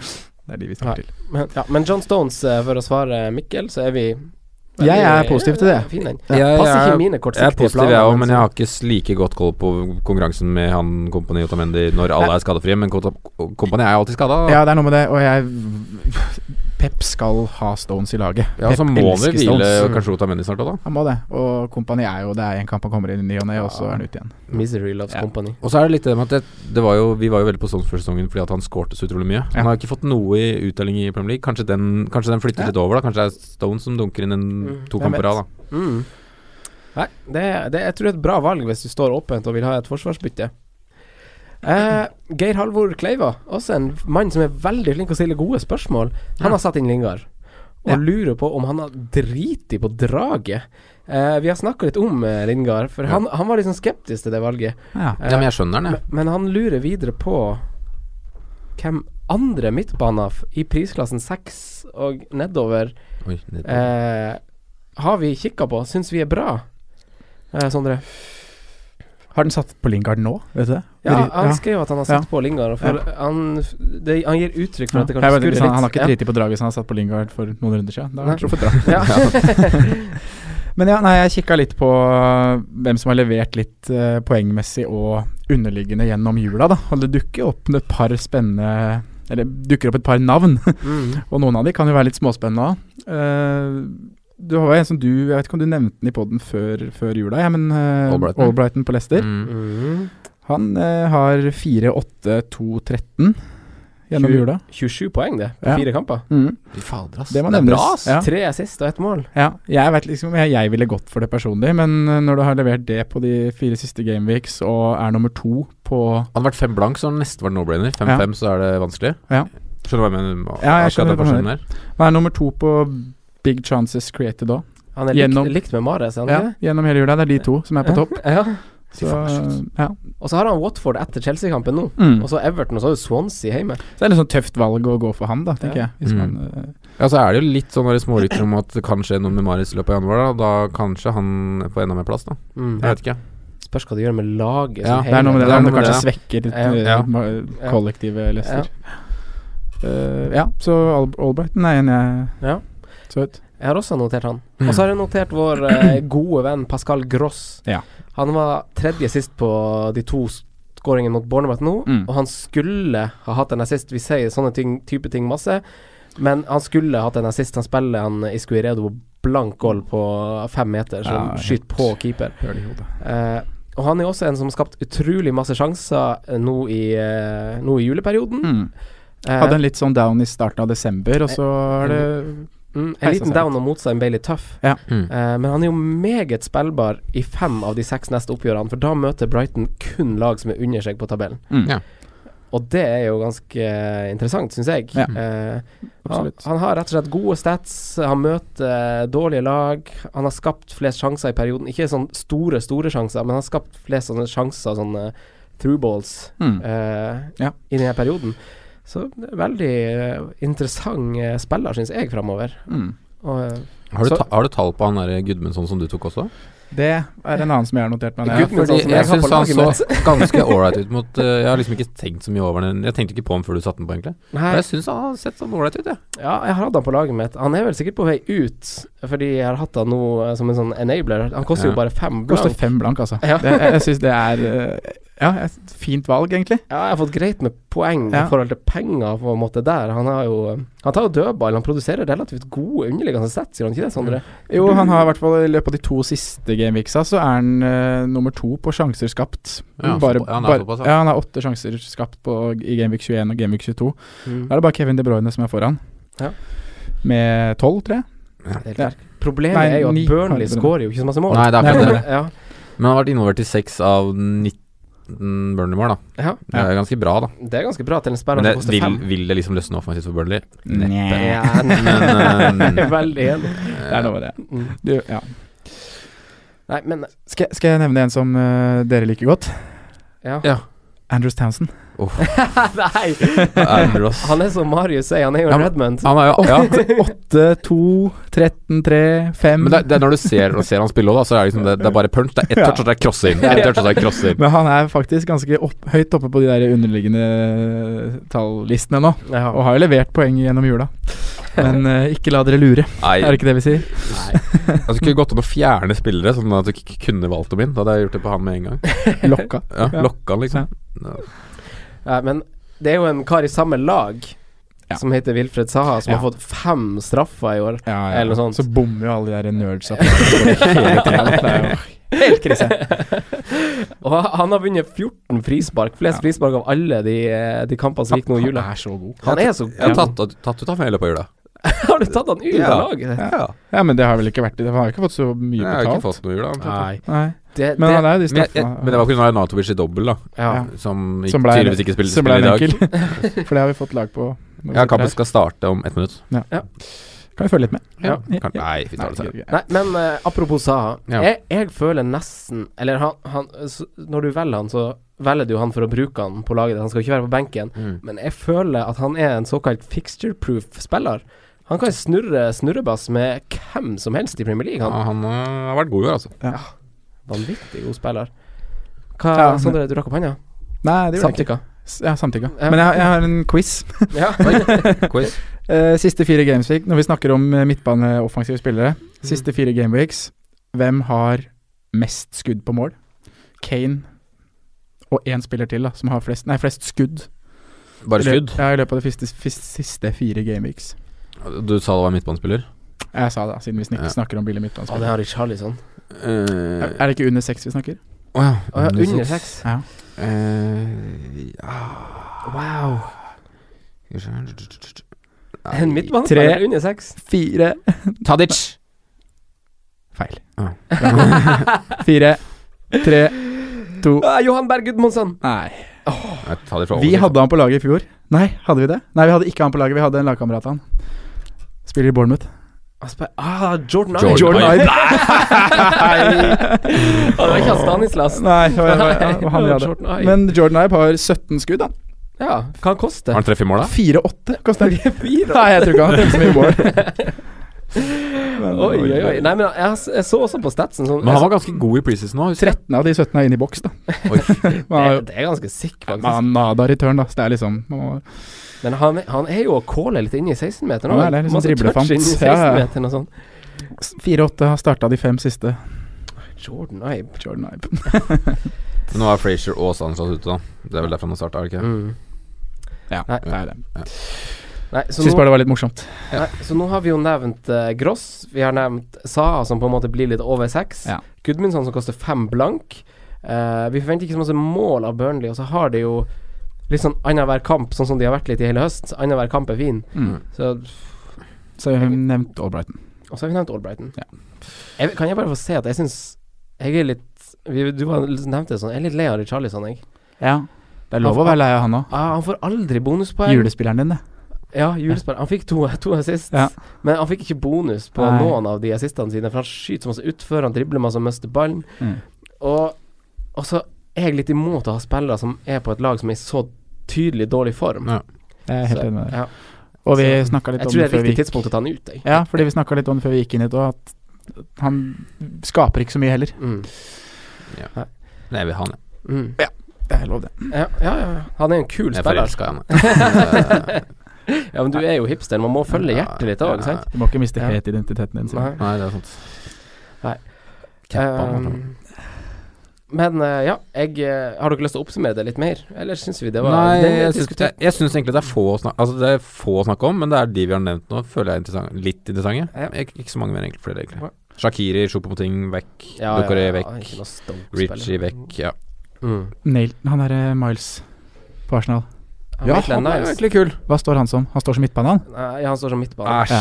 D: Det er de vi snakker til.
C: Men, ja, men John Stones, eh, for å svare Mikkel, så er vi eh,
D: Jeg er positiv til det.
C: Fin den.
A: Jeg
C: Passer
A: er-
C: ikke mine
A: Jeg er
C: kortsiktige altså.
A: positiv, jeg òg, men jeg
C: så-
A: har ikke s- like godt koll på konkurransen med han Kompani Otamendi når alle
D: Nei.
A: er skadefrie, men Kompani er jo alltid skada.
D: Ja, det er noe med det, og jeg Pep skal ha Stones i laget.
A: Ja,
D: Pep
A: så må vi
D: elsker
A: hvile
D: Stones.
A: kanskje Otamendi snart òg, da.
D: Han må det. Og Kompani er jo Det er en kamp han kommer inn i ny og ne, og så er han ute igjen.
C: Misery Loves
D: Ja.
C: Company.
A: Og så er det litt det med at det, det var jo, vi var jo veldig på Stones før sesongen fordi at han skårte så utrolig mye.
D: Ja.
A: Han har ikke fått noe i uttelling i Premier League. Kanskje den, kanskje den flytter
D: Ja.
A: litt over, da. Kanskje det er Stones som dunker inn en
C: Mm,
A: to
D: hvem
A: kamper
D: vet?
A: av, da.
C: Mm. Nei, det, det, jeg tror det er et bra valg hvis du står åpent og vil ha et forsvarsbytte. Eh, Geir Halvor Kleiva, også en mann som er veldig flink å stille gode spørsmål.
A: Ja.
C: Han har satt inn Lingard, og
D: Ja.
C: lurer på om han har driti på draget. Eh, vi har snakka litt om eh, Lingard, for
A: Ja.
C: han, han var liksom skeptisk til det valget.
D: Ja.
C: Eh,
A: Ja, men jeg skjønner den, jeg.
C: men han lurer videre på hvem andre midtbaner f- i prisklassen 6 og nedover
A: Oi, ned.
C: Eh, har vi kikka på? Syns vi er bra? Eh, Sondre?
D: Har den satt på Lingard nå? Vet du det?
C: Ja,
D: Dri-
C: han skrev at han har satt
D: Ja.
C: på Lingard. og For han, det, han gir uttrykk for
D: Ja. Jeg vet
C: at det kanskje
D: ikke,
C: skurrer
D: hvis han, han har
C: litt.
D: ikke driti på draget hvis han har satt på Lingard for noen runder siden. Da har
C: Nei.
D: han truffet draget.
C: Ja.
D: Men ja, nei, jeg kikka litt på eh, hvem som har levert litt eh, poengmessig og underliggende gjennom jula, da. Og det dukker opp et par spennende Eller dukker opp et par navn,
C: Ja. Mm.
D: og noen av de kan jo være litt småspennende òg. du har jo en som du Jeg vet ikke om du nevnte den i poden før, før jula, ja, men eh,
A: Albrighton.
D: Albrighton på Leicester.
A: Mm.
C: Mm.
D: Han eh, har 4-8-2-13 gjennom
C: Sju.
D: jula.
C: 27 poeng, det, på
D: Ja.
C: fire kamper.
D: Mm.
A: Fy fader, ass.
D: Det må
A: er
D: nevnes.
A: bra, ass.
D: Ja.
C: Tre assist og ett mål.
D: Ja, jeg vet liksom om jeg, jeg ville gått for det personlig, men eh, når du har levert det på de fire siste Gameweeks og er nummer to på
A: Hadde det vært fem blank, så hadde det nesten vært no-brainer. Fem-fem, så er det vanskelig.
D: Ja.
A: Skjønner du hva jeg mener?
D: Ja, jeg
A: Akkurat
D: skjønner
A: den
D: hva du
A: forskjellen der.
D: Nei, nummer to på Big Chances Created òg.
C: Han er likt,
D: Gjennom-
C: likt med Mares, er han
D: Ja, gjennom hele jula. Det er de to som er på topp.
C: ikke det? Ja.
D: Så, ja.
C: Og så har han Watford etter Chelsea-kampen nå.
D: Mm.
C: Og så Everton, og så har jo Swansea hjemme.
D: Så det er litt sånn tøft valg å gå for han, da, tenker jeg. Hvis
A: Mm.
D: man, eh,
A: Ja, så er det jo litt sånn der smårykter om at det kan skje noe med Marius i løpet av januar. Da, da kanskje han får enda mer plass, da.
C: Mm.
A: Jeg vet ikke.
C: Spørs hva det gjør med laget.
A: Ja,
C: som
D: det er noe med
A: det
D: det,
A: er
D: der, om
A: noe med
D: det kanskje svekker
C: Ja.
D: eh,
A: Ja.
D: ma- kollektivet Leicester.
C: Ja.
D: Eh, ja, så Al- Albrighton er en jeg
C: Ja.
D: så vet.
C: Jeg har også notert han.
D: Mm.
C: Og så har jeg notert vår eh, gode venn Pascal Gross.
D: Ja.
C: Han var tredje sist på de to skåringene mot Bournemouth nå,
D: Mm.
C: og han skulle ha hatt en assist. Vi sier sånne ting, type ting masse, men han skulle hatt en assist. Han spiller han Iscuiredo på blank goal på fem meter, som
D: Ja,
C: skyter på keeper.
D: Hører det i hodet.
C: Eh, og han er også en som har skapt utrolig masse sjanser eh, nå i, eh, nå i juleperioden.
D: Mm.
C: Eh,
D: Hadde en litt sånn down i starten av desember, og så er det
C: mm, en
D: heisa seg
C: liten down og mot seg en Bailey Tuff.
A: Mm.
C: Eh, men han er jo meget spillbar i fem av de seks neste oppgjørene, for da møter Brighton kun lag som er under seg på tabellen.
D: Mm.
A: Ja.
C: Og det er jo ganske eh, interessant, syns jeg.
D: Ja.
C: Eh, han,
D: Absolutt.
C: han har rett og slett gode stats, han møter eh, dårlige lag. Han har skapt flest sjanser i perioden. Ikke sånn store, store sjanser, men han har skapt flest sånne sjanser, sånne through balls,
D: Mm.
C: eh,
D: Ja.
C: i denne perioden. Så det er veldig eh, interessant eh, spiller, syns jeg, framover.
D: Mm.
C: Og eh,
A: Har, du
C: Så-
A: ta, har du tall på han der Gudmundsson som du tok også?
D: Det er en annen som jeg har notert meg.
C: Gud,
D: ned.
C: men sånn
A: Fordi
C: som
A: jeg
C: jeg har
A: syns
C: på
A: han
C: laget mitt.
A: så ganske ålreit ut mot eh, Jeg har liksom ikke tenkt så mye over den. Jeg tenkte ikke på ham før du satte den på, egentlig.
C: Nei,
A: Men jeg syns han har sett sånn ålreit ut, jeg.
C: Ja, jeg har hatt han på laget mitt. Han er vel sikkert på vei ut, fordi jeg har hatt han nå eh, som en sånn enabler. Han koster
A: Ja.
C: jo bare fem
D: Koster
C: blank.
D: fem blank, altså.
C: Ja.
D: Det, jeg jeg syns det er eh, ja, et fint valg, egentlig.
C: Ja, jeg har fått greit med poeng
D: Ja.
C: i forhold til penger, på en måte, der. Han har jo eh, Han tar jo dødball, han produserer relativt gode underliggende sets, gjør han ikke det, Sondre?
D: Jo, han har i hvert fall i løpet av de to siste gameweeksa så er han eh, nummer to på sjanser skapt.
A: Ja,
D: Bare-
A: såpa- ja, han er
D: bare-
A: såpass, ja.
D: ja, han har åtte sjanser skapt på, i gameweek 21 og gameweek 22.
C: Mm.
D: Da er det bare Kevin De Bruyne som er foran.
C: Ja.
D: Med tolv, tror jeg.
C: Helt
D: Ja.
C: klart. Problemet
D: Nei,
C: er jo
D: ni
C: at Burnley
D: har det.
C: skårer jo ikke så masse mål.
A: Nei, det er
D: Nei,
A: ikke det.
D: men-
C: ja.
A: Men han har vært involvert i seks av 19 Burnley-mål, da.
C: ja,
A: Det er ganske bra, da.
C: det er ganske bra til en sperre
A: Men det,
C: som koster
A: vil,
C: fem.
A: vil det liksom løsne offensivt for Burnley?
D: Nei.
C: Ja, nei,
A: Men
C: jeg
A: eh,
C: er veldig enig.
D: Det er noe med det.
C: Mm.
D: Du, ja.
C: Nei, men
D: skal, jeg- skal jeg nevne en som eh, dere liker godt?
C: Ja.
A: Ja.
D: Andrews Townsend.
C: nei!
A: Andrew Eh, Ross.
C: Han er som Marius sier, han er jo
A: Ja,
C: en
A: men-
C: Redmond.
A: Han er jo ja.
D: 8, 2, 13, 3, 5
A: Men det, er- det er når du ser, når du ser han spille òg, da, så er det liksom det, det er bare punch. Det er ett touch, og så er det cross inn. Ett touch, og så er det cross inn.
D: Men han er faktisk ganske opp, høyt oppe på de der underliggende eh, tallistene nå.
C: Ja.
D: Og har jo levert poeng gjennom jula. Men eh, ikke la dere lure,
A: Nei,
D: er det ikke det vi sier?
A: altså, kunne det gått an å fjerne spillere, sånn at du ikke kunne valgt dem inn. Da hadde jeg gjort det på han med en gang.
D: Lokka.
A: Ja,
D: Ja.
A: Lokka han, liksom.
C: Ja, men det er jo en kar i samme lag
D: Ja.
C: som heter Wilfred Saha, som
D: Ja.
C: har fått fem straffer i år.
D: Ja,
C: Eller noe sånt.
D: Så bommer jo alle de der nerdsa på det hele tiden. Det er jo Helt krise.
C: Og han har vunnet 14 frispark, flest
D: Ja.
C: frispark av alle de, eh, de kampene som gikk nå i jula.
D: er så god.
C: Han er så
A: Jeg har
C: god.
A: tatt, tatt ut ham i løpet av jula.
C: Har du tatt han ut av
A: Ja.
C: laget?
A: Ja.
D: Ja, men det har vel ikke vært det. Han har jo ikke fått så mye
A: Jeg har ikke
D: betalt.
A: fått noe i jula.
C: Nei.
D: Nei.
C: Det,
D: Men
C: det,
D: han er jo de
A: Men, jeg, jeg, men det
D: straffene
A: var pga. Natovic i dobbel, da.
C: ja.
D: Ja.
A: Som,
D: Som
A: ikke,
D: ble-
A: tydeligvis ikke spiller
D: som
A: spill
D: ble
A: i dag.
D: enkel. For det har vi fått lag på.
A: Ja, kampen skal starte om ett minutt.
D: Kan vi følge litt med?
C: Ja.
A: Kan, nei, vi tar det senere.
D: Nei,
C: Nei, men eh, apropos Saha.
A: Ja.
C: Jeg, jeg føler nesten Eller han, han s- Når du velger han, så velger du han for å bruke han på laget. ditt. Han skal ikke være på benken.
A: Mm.
C: Men jeg føler at han er en såkalt fixture-proof spiller. Han kan snurre snurrebass med hvem som helst i Premier League.
A: Ja,
C: Han
A: han øh, har vært god i år, altså.
C: Vanvittig god spiller. Hva,
D: Ja, men-
C: Sondre, du rakk opp hånda?
D: Nei, det gjorde jeg ikke.
C: Samtykka?
D: S- Ja, samtykke.
C: Ja.
D: Men jeg, jeg har en quiz.
C: Ja.
A: Quiz.
D: Eh, siste fire gameweeks, når vi snakker om eh, midtbaneoffensive spillere Siste fire gameweeks, hvem har mest skudd på mål? Kane og én spiller til, da, som har flest Nei, flest skudd.
A: Bare
D: I lø-
A: skudd.
D: Ja, i løpet av de siste, fis- siste fire gameweeks.
A: Du sa det var midtbanespiller.
D: Jeg sa det, da, siden vi snik-
A: Ja.
D: snakker om billig
C: Å, det
D: midtbanespiller.
C: har Richarlison.
A: Eh,
D: er, er det ikke under seks vi snakker?
A: Å ja.
C: Å, ja, under seks.
D: Ja.
A: Eh, ja.
C: Wow.
A: Nei.
C: En midtbanespiller under seks.
D: Fire
A: Tadic.
D: Feil.
A: Ah.
D: fire, tre, to
C: Ah, Johan Berg Gudmundsson.
D: Nei.
A: Nei, Tadic var
D: Vi
A: over.
D: hadde han på laget i fjor. Nei, hadde vi det? Nei, vi hadde ikke han på laget. Vi hadde en lagkamerat av han. Spiller i Bournemouth.
C: Altså, bare, ah, Jordan Ibe.
A: Jordan Jordan Ibe.
C: Nei. Og det var ikke han Stanislas.
D: Nei, det var-
C: Nei,
D: det var han vi hadde.
C: Jordan Ibe.
D: Men Jordan Ibe har 17 skudd, da.
C: Ja, hva han koster
A: Har han treff i mål, da?
D: 4-8 koster det.
C: Fire.
D: Nei, jeg tror ikke han har så mye mål. Men,
C: Oi, oi, oi. Nei, men jeg, jeg så også på statsen sånn
A: Men han var ganske god i preseason nå. husker jeg.
D: 13 av de 17 er inne i boks, da.
A: Oi.
D: Man har
C: det, det er ganske sikkert,
D: jo- man
C: faktisk.
D: har nada return, da. Så det er liksom man må,
C: Men han, han er jo å calle litt inn i 16-meteren.
D: Ja, det er litt sånn
C: Masse touch
D: driblefant.
C: inn i
D: Ja, ja.
C: 16-meteren og sånn.
D: 4-8 har starta de fem siste.
C: Jordan Ibe.
D: Jordan Ibe.
A: Men Nå er Frazier og Stanislas ute, da. Det er vel derfor han har starta, er det ikke?
C: Mm.
D: Ja,
C: Nei.
D: det er det.
C: Nei, så
D: Syns
C: nå,
D: bare det var litt morsomt.
C: nei, så nå har vi jo nevnt eh, Gross, vi har nevnt Saha, som på en måte blir litt over seks.
D: Ja.
C: Gudmundsson, som koster fem blank. Eh, vi forventer ikke så masse mål av Burnley, og så har de jo litt sånn annenhver kamp, sånn som de har vært litt i hele høst. Annenhver kamp er fin.
D: Mm.
C: Så,
D: Så jeg har nevnt Albrighton.
C: og så har vi nevnt Albrighton.
D: Ja.
C: Jeg, kan jeg bare få se at jeg syns Jeg er litt vi, Du var, nevnte det sånn, jeg er litt lei av Richarlison, jeg.
D: Ja. Det er lov å være lei av han òg.
C: Ah, han får aldri bonuspoeng.
D: Julespilleren din, det.
C: Ja, julespark. Han fikk to, to assist,
D: Ja.
C: men han fikk ikke bonus på
D: Nei.
C: noen av de assistene sine, for han skyter så masse utfor, han dribler masse og mister ballen.
D: Mm.
C: Og, og så er jeg litt imot å ha spillere som er på et lag som er i så tydelig dårlig form.
A: Mm. Ja.
D: Jeg er helt
C: Så,
D: enig med deg.
C: ja.
D: Og vi
C: Så-
D: snakka litt
C: Jeg
D: om
C: tror det
D: det
C: er
D: før vi
C: riktig tidspunkt å ta han ut, jeg.
D: Ja, fordi vi snakka litt om det før vi gikk inn hit òg, at han skaper ikke så mye heller.
C: Mm.
A: Nei, jeg vil ha han, jeg.
C: Mm.
D: Det er lov, det.
C: Ja, ja, ja. Han er en kul
A: Jeg
C: spiller.
A: forelska i
D: altså.
A: han. Eh, jeg.
C: Ja, men du er jo hipster, man må følge
A: Ja,
C: hjertet litt òg,
A: ja.
C: sant?
D: Du må ikke miste
C: Ja.
D: helt identiteten din. Simen.
C: Nei.
A: Nei, det er sant.
C: Nei.
A: Kappa han,
C: Eh, men eh, ja, jeg eh, Har dere lyst til å oppsummere det litt mer, eller syns vi det var
A: Nei,
C: den-
A: jeg syns,
C: diskuter-
A: jeg, jeg syns egentlig det er få å snakke Altså det er få å snakke om, men det er de vi har nevnt nå, føler jeg er interessant, litt interessante.
C: Ja.
A: Ik ikke så mange mer, egentlig. Flere,
C: Nei.
A: egentlig. Shakiri, Chopomoting, vekk.
C: Ja,
A: Dokore,
C: ja, ja, han er
A: vekk.
C: ikke noe stolt
A: Richie,
C: spiller.
A: vekk. Ja.
C: Mm.
D: Nailton, han er eh, Miles på Arsenal.
C: Han er Maitland
A: han er jo
C: Niles.
A: egentlig kul.
D: Hva står han som? Han står som midtbane, han?
C: Nei, han står som midtbane.
A: Æsj.
D: Ja,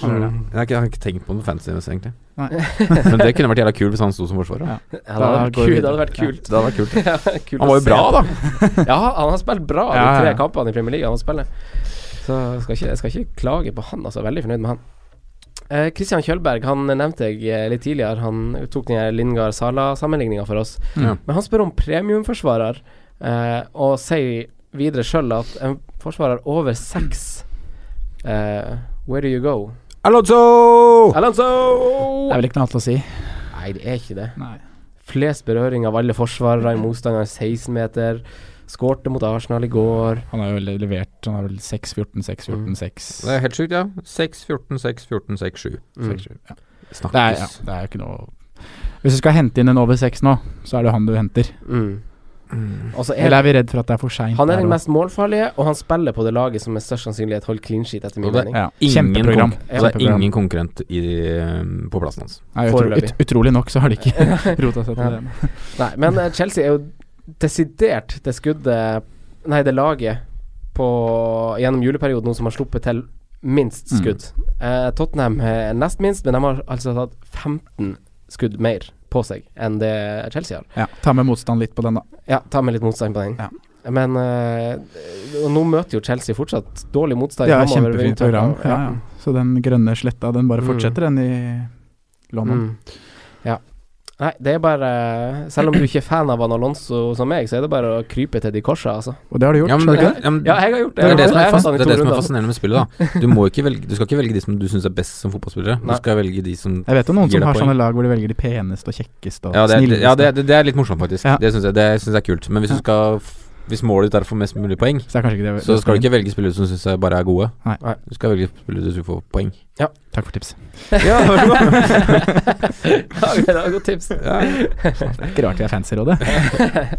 D: han gjør det.
A: Jeg, har ikke- jeg har ikke tenkt på noe fancy, egentlig.
D: Nei.
A: men det kunne vært jævla kult hvis han sto som forsvarer.
D: Ja.
C: Ja, det, hadde vært
D: Da går
C: kul,
D: vi
C: det hadde vært
D: videre.
C: kult.
A: Det hadde vært kult.
C: Ja, kult
A: Han
C: å
A: var jo
C: se.
A: bra, da.
C: Ja, han har spilt bra de
D: Ja, ja,
C: tre
D: ja.
C: kampene i Premier League han har spilt. Så jeg skal ikke, jeg skal ikke klage på han, altså. Jeg er Veldig fornøyd med han. Eh, Christian Kjølberg han nevnte jeg eh, litt tidligere. Han tok den her Lingard-Sala-sammenligninga for oss.
A: Ja.
C: Men han spør om premiumforsvarer, eh, og sier videre sjøl at en forsvarer over seks eh, Where do you go?
A: Alonso!
C: Alonso!
D: Det er vel ikke noe annet å si.
C: Nei, det er ikke det.
D: Nei.
C: Flest berøring av alle forsvarere
A: Mm.
C: i motstanderen 16 meter. Skårte mot Arsenal i går.
D: Han har jo le- levert Han har vel 6-14, 6-14, 6
A: Det er helt sjukt, ja. 6, 14, 6, 14, 6, 7.
C: Mm.
D: ja.
A: Snakkes.
D: det, er, ja, det er jo ikke noe Hvis du skal hente inn en over 6 nå, så er det jo han du henter.
C: Mm. Og så
D: Eller
C: er
D: er vi redd for at det er for seint?
C: han er den mest målfarlige, og han spiller på det laget som med størst sannsynlighet holder clean sheet, etter min
A: Og det-
C: mening.
D: ja.
A: Ingen,
D: Kjempeprogram.
A: konk-
C: Ja.
A: altså, det er ingen konkurrent i, eh, på plassen hans.
D: Nei, utro, ut,
C: Foreløpig.
D: utrolig nok så har de ikke rota seg til
C: Ja.
D: det.
C: Nei, men eh, Chelsea er jo desidert det skuddet Nei, det laget på, gjennom juleperioden nå som har sluppet til minst
A: Mm.
C: skudd. Eh, Tottenham er nest minst, men de har altså tatt 15 skudd mer på seg enn det Chelsea har.
D: Ja, ta med motstand litt på den, da.
C: Ja, ta med litt motstand på den.
D: Ja.
C: Men eh, og nå møter jo Chelsea fortsatt dårlig motstand.
D: Det er et
C: fremover ved
D: kjempefint
C: unntak
D: program.
C: av-
D: Ja, ja. Så den grønne sletta, den bare
C: Mm.
D: fortsetter, den i London.
C: Mm. Ja. Nei, det er bare eh, Selv om du ikke er fan av Van Alonso som meg, så er det bare å krype til de korsa, altså.
D: Og det har du gjort,
A: Ja, men
D: skal du ikke
A: det- ja, men-
C: Ja, jeg har gjort det.
A: Det er det, som
C: Jeg
A: er,
C: har
A: fas
C: hatt han i
A: det, er
C: to
A: det som er
C: runder.
A: fascinerende med spillet. da Du, må ikke velge, du skal ikke velge de som du syns er best som fotballspillere. Du
C: Nei.
A: skal velge de som
D: Jeg vet om noen
A: Gir
D: som
A: deg
D: har
A: poeng.
D: sånne lag hvor de velger de peneste og kjekkeste og
A: Ja, det er,
D: snilleste.
A: ja, det, det, det er litt morsomt, faktisk.
D: Ja.
A: Det syns jeg, det synes jeg er kult. Men hvis,
D: Ja.
A: du skal, f- hvis målet ditt er å få mest mulig poeng,
D: Så er kanskje ikke det
A: så skal du ikke velge spillere som syns jeg bare er gode.
D: Nei.
C: Nei.
A: Du skal velge spillere som får poeng.
D: Takk for tips.
A: Ja,
C: Ja, det var et godt tips.
D: Det er ikke rart vi er fans i rådet.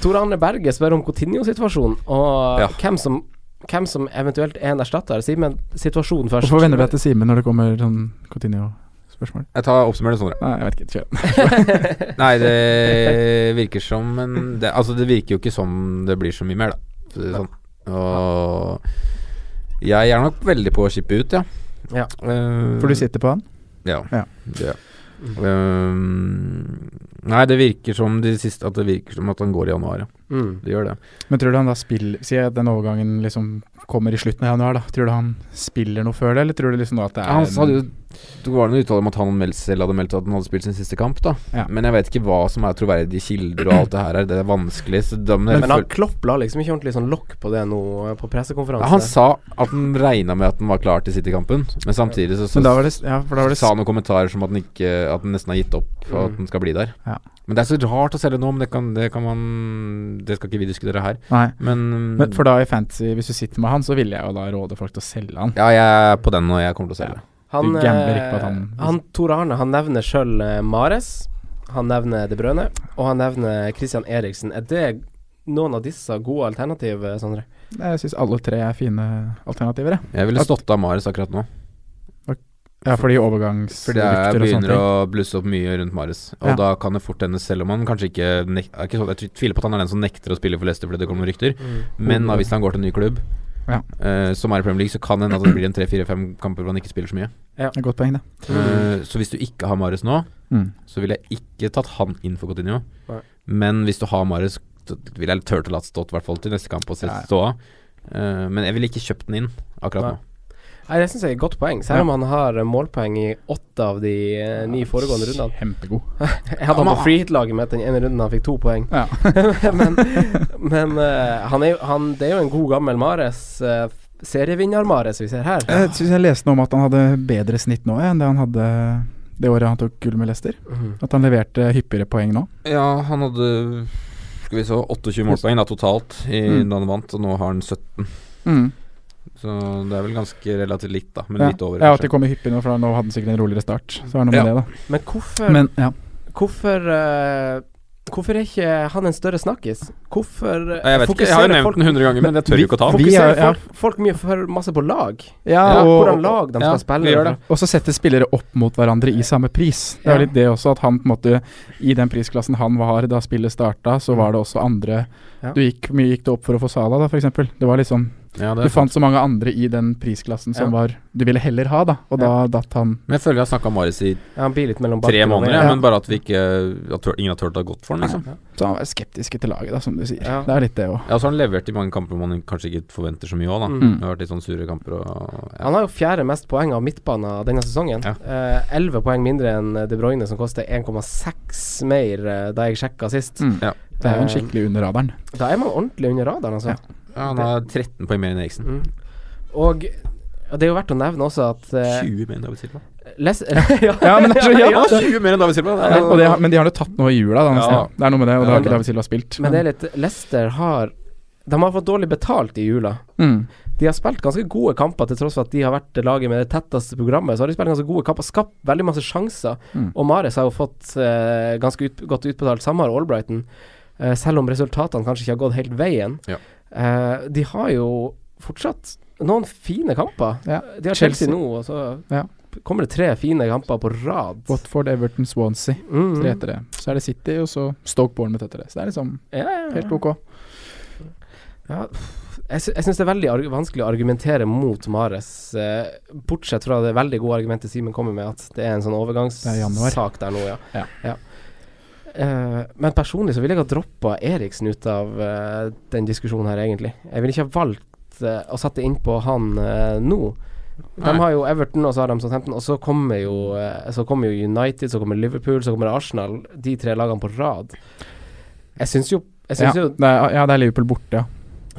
C: Tor Arne Berge spør om Coutinho-situasjonen, og
A: Ja.
C: hvem, som, hvem som eventuelt er en erstatter. Simen, situasjonen først.
D: Hvorfor vender du deg til Simen når det kommer sånn Continuo-spørsmål?
A: Jeg tar oppsummerer det sånn.
D: Nei, jeg vet ikke. Kjør.
A: Nei, det virker som en det, Altså, det virker jo ikke som det blir så mye mer, da. For å si det sånn. Og jeg er nok veldig på å chippe ut, ja.
C: Ja.
A: Eh,
D: For du sitter på han?
A: Ja.
D: Ja.
A: Det. Ehm, nei, det virker som de siste At det virker som at han går i januar, ja.
C: Mm.
A: Det gjør det.
D: Men tror du han da spiller Si at den overgangen liksom kommer i slutten av januar, da. Tror du han spiller noe før det, eller tror du liksom at det er
A: Han sa det jo Det var noen uttaler om at han meldt- selv hadde meldt at han hadde spilt sin siste kamp, da.
D: Ja.
A: Men jeg vet ikke hva som er troverdige kilder og alt det her er. Det er vanskelig. Så da, men jeg
C: Men han
A: føl-
C: Klopp la liksom ikke ordentlig sånn lokk på det nå eh, på
A: Ja, han
C: pressekonferanse.
A: sa at han regna med at han var klar til City-kampen, men samtidig så, så
D: Men da var det, ja, for da var det
A: sa han noen kommentarer som at han, ikke, at han nesten har gitt opp for
C: Mm.
A: at han skal bli der.
D: Ja.
A: Men det er så rart å selge nå, men det kan, det kan man Det skal ikke vi diskutere her.
D: Nei.
A: Men,
D: Men for da
A: Mm.
D: i fantasy, hvis du sitter med han, så ville jeg jo da råde folk til å selge han.
A: Ja, jeg er på den, og jeg kommer til å selge.
C: Han,
D: Du gambler ikke på at han-
C: eh, han Tor Arne han nevner sjøl Mares, han nevner De Brøne, og han nevner Christian Eriksen. Er det noen av disse gode alternativ, eh, Sondre?
D: Jeg syns alle tre er fine alternativer, jeg.
A: Jeg ville stått av Marius akkurat nå.
D: Ja, fordi overgangs...
A: Fordi jeg
D: rykter og sånne
A: begynner
D: ting.
A: å blusse opp mye rundt Marius. Og
D: Ja.
A: da kan det fort hende, selv om han kanskje ikke, nek er ikke sånn, Jeg tviler på at han er den som nekter å spille for Leicester fordi det kommer noen rykter. Men da, hvis han går til en ny klubb,
D: Ja.
A: eh, som er i Premier League, så kan det hende at det blir en tre-fire-fem kamper hvor han ikke spiller så mye.
D: Det er et Godt poeng, det.
A: Eh, så hvis du ikke har Marius nå,
D: Mm.
A: så ville jeg ikke tatt han inn for Coutinho.
C: Nei.
A: Men hvis du har Marius, så ville jeg turt å la stått i hvert fall til neste kamp og se
D: Ja, ja.
A: stå av. Eh, men jeg ville ikke kjøpt den inn akkurat
C: Nei.
A: nå.
C: Nei, det syns jeg er et godt poeng, selv om han har eh, målpoeng i åtte av de eh, ni foregående rundene.
D: Kjempegod.
C: Jeg hadde han på freehit-laget mitt den ene runden han fikk to poeng.
D: Ja.
C: men men eh, han er, jo- han, det er jo en god gammel Mares. eh, Serievinner-Mares vi ser her.
A: Eh,
D: Jeg syns jeg leste noe om at han hadde bedre snitt nå jeg, enn det han hadde det året han tok gull med Leicester.
C: Mhm.
D: At han leverte hyppigere poeng nå.
A: Ja, han hadde skal vi se, 28 målpoeng da, totalt i,
D: Mm.
A: da han vant, og nå har han 17. Mm. Så det er vel ganske relativt likt, da. Men
D: Ja.
A: litt over.
D: ja, at
A: kanskje.
D: det kommer hyppig nå, for nå hadde han sikkert en roligere start. Så er det noe med
A: Ja.
D: det,
C: Men
D: da.
C: hvorfor,
D: Men ja.
C: hvorfor eh, Hvorfor er ikke han en større snakkis? Hvorfor eh,
A: Nei, jeg vet ikke, jeg har jo
C: fokuserer
A: nevnt
C: folk,
A: den 100 ganger, men jeg tør
D: vi-
A: jo ikke å ta den.
D: vi
C: fokuserer
D: er- ja.
C: folk, folk mye for masse på lag?
D: Ja,
A: Ja,
D: og,
C: Hvordan lag de
A: ja,
C: skal spille?
A: vi gjør det.
D: Og så setter spillere opp mot hverandre i samme pris. Det er
C: Ja.
D: jo litt det også, at han på en måte I den prisklassen han var da spillet starta, så var det også andre
C: Ja.
D: Du gikk, mye gikk det opp for å få Sala, da, f.eks. Det var liksom
A: Ja, det
D: Du
A: er sant.
D: fant så mange andre i den prisklassen som
C: Ja.
D: var Du ville heller ha, da, og da datt han
A: Men jeg føler jeg har snakka om Marius i
C: Ja, han blir litt mellom
A: tre
C: bakken og
A: måneder,
C: veien.
A: ja, men bare at vi ikke at tør- ingen har turt å ha gått for den, liksom.
D: Så han var skeptisk til laget, da, som du sier.
C: Ja.
D: Det er litt det òg.
A: Ja, og så har han levert i mange kamper hvor man kanskje ikke forventer så mye òg, da.
C: Mm.
A: Det har vært litt sånn sure kamper og ja.
C: Han har jo fjerde mest poeng av midtbanen denne sesongen. Eh,
A: Ja.
C: Elleve poeng mindre enn De Bruyne, som koster 1,6 mer eh, da jeg sjekka sist.
D: Mm.
A: Ja.
D: Det er jo en skikkelig under radaren.
C: Da er man ordentlig under radaren, altså.
D: Ja.
A: ja, han har 13 poeng mer enn Eriksen.
C: Mm. Og det er jo verdt å nevne også at eh,
A: 20 mer enn David Silva.
C: Les
D: Ja, men det er så
C: ja,
D: ja.
A: 20 mer enn David Silva! Det er,
D: Og det, har- men de har jo tatt noe i jula, da. nesten.
A: Ja.
D: Det er noe med det, og det
A: Ja,
D: har
A: det-
D: ikke David Silva spilt.
C: Men det er litt Leicester har De har fått dårlig betalt i jula.
D: mm.
C: De har spilt ganske gode kamper, til tross for at de har vært det laget med det tetteste programmet. Så har de spilt ganske gode kamper, skapt veldig masse sjanser.
D: Mm.
C: Og Mares har jo fått eh, ganske ut, godt utbetalt. Samme har Albrighton. Eh, selv om resultatene kanskje ikke har gått helt veien.
A: Ja.
C: Eh, de har jo fortsatt noen fine kamper.
D: Ja.
C: De har Chelsea,
D: Chelsea.
C: nå, og så
D: Ja.
C: kommer det tre fine kamper på rad.
D: Watford, Everton, Swansea.
C: Mm.
D: Tre etter det. Så er det City, og så Stoke Bournemouth etter det. Så det er liksom
C: Ja, ja, ja.
D: helt ok.
C: Ja, jeg, sy jeg syns det er veldig arg vanskelig å argumentere mot Mares, eh, bortsett fra det veldig gode argumentet Simen kommer med, at det er en sånn
D: Det er januar.
C: overgangssak der nå, ja.
D: Ja.
C: Eh, men personlig så ville jeg ha droppa Eriksen ut av eh, den diskusjonen her, egentlig. Jeg ville ikke ha valgt eh, å sette innpå han eh, nå. De
A: Nei.
C: har jo Everton, og så har de Southampton, og så kommer, jo, eh, så kommer jo United, så kommer Liverpool, så kommer Arsenal. De tre lagene på rad. Jeg syns jo
D: Ja
C: Jeg syns jo
D: det, er, ja, det er Liverpool borte,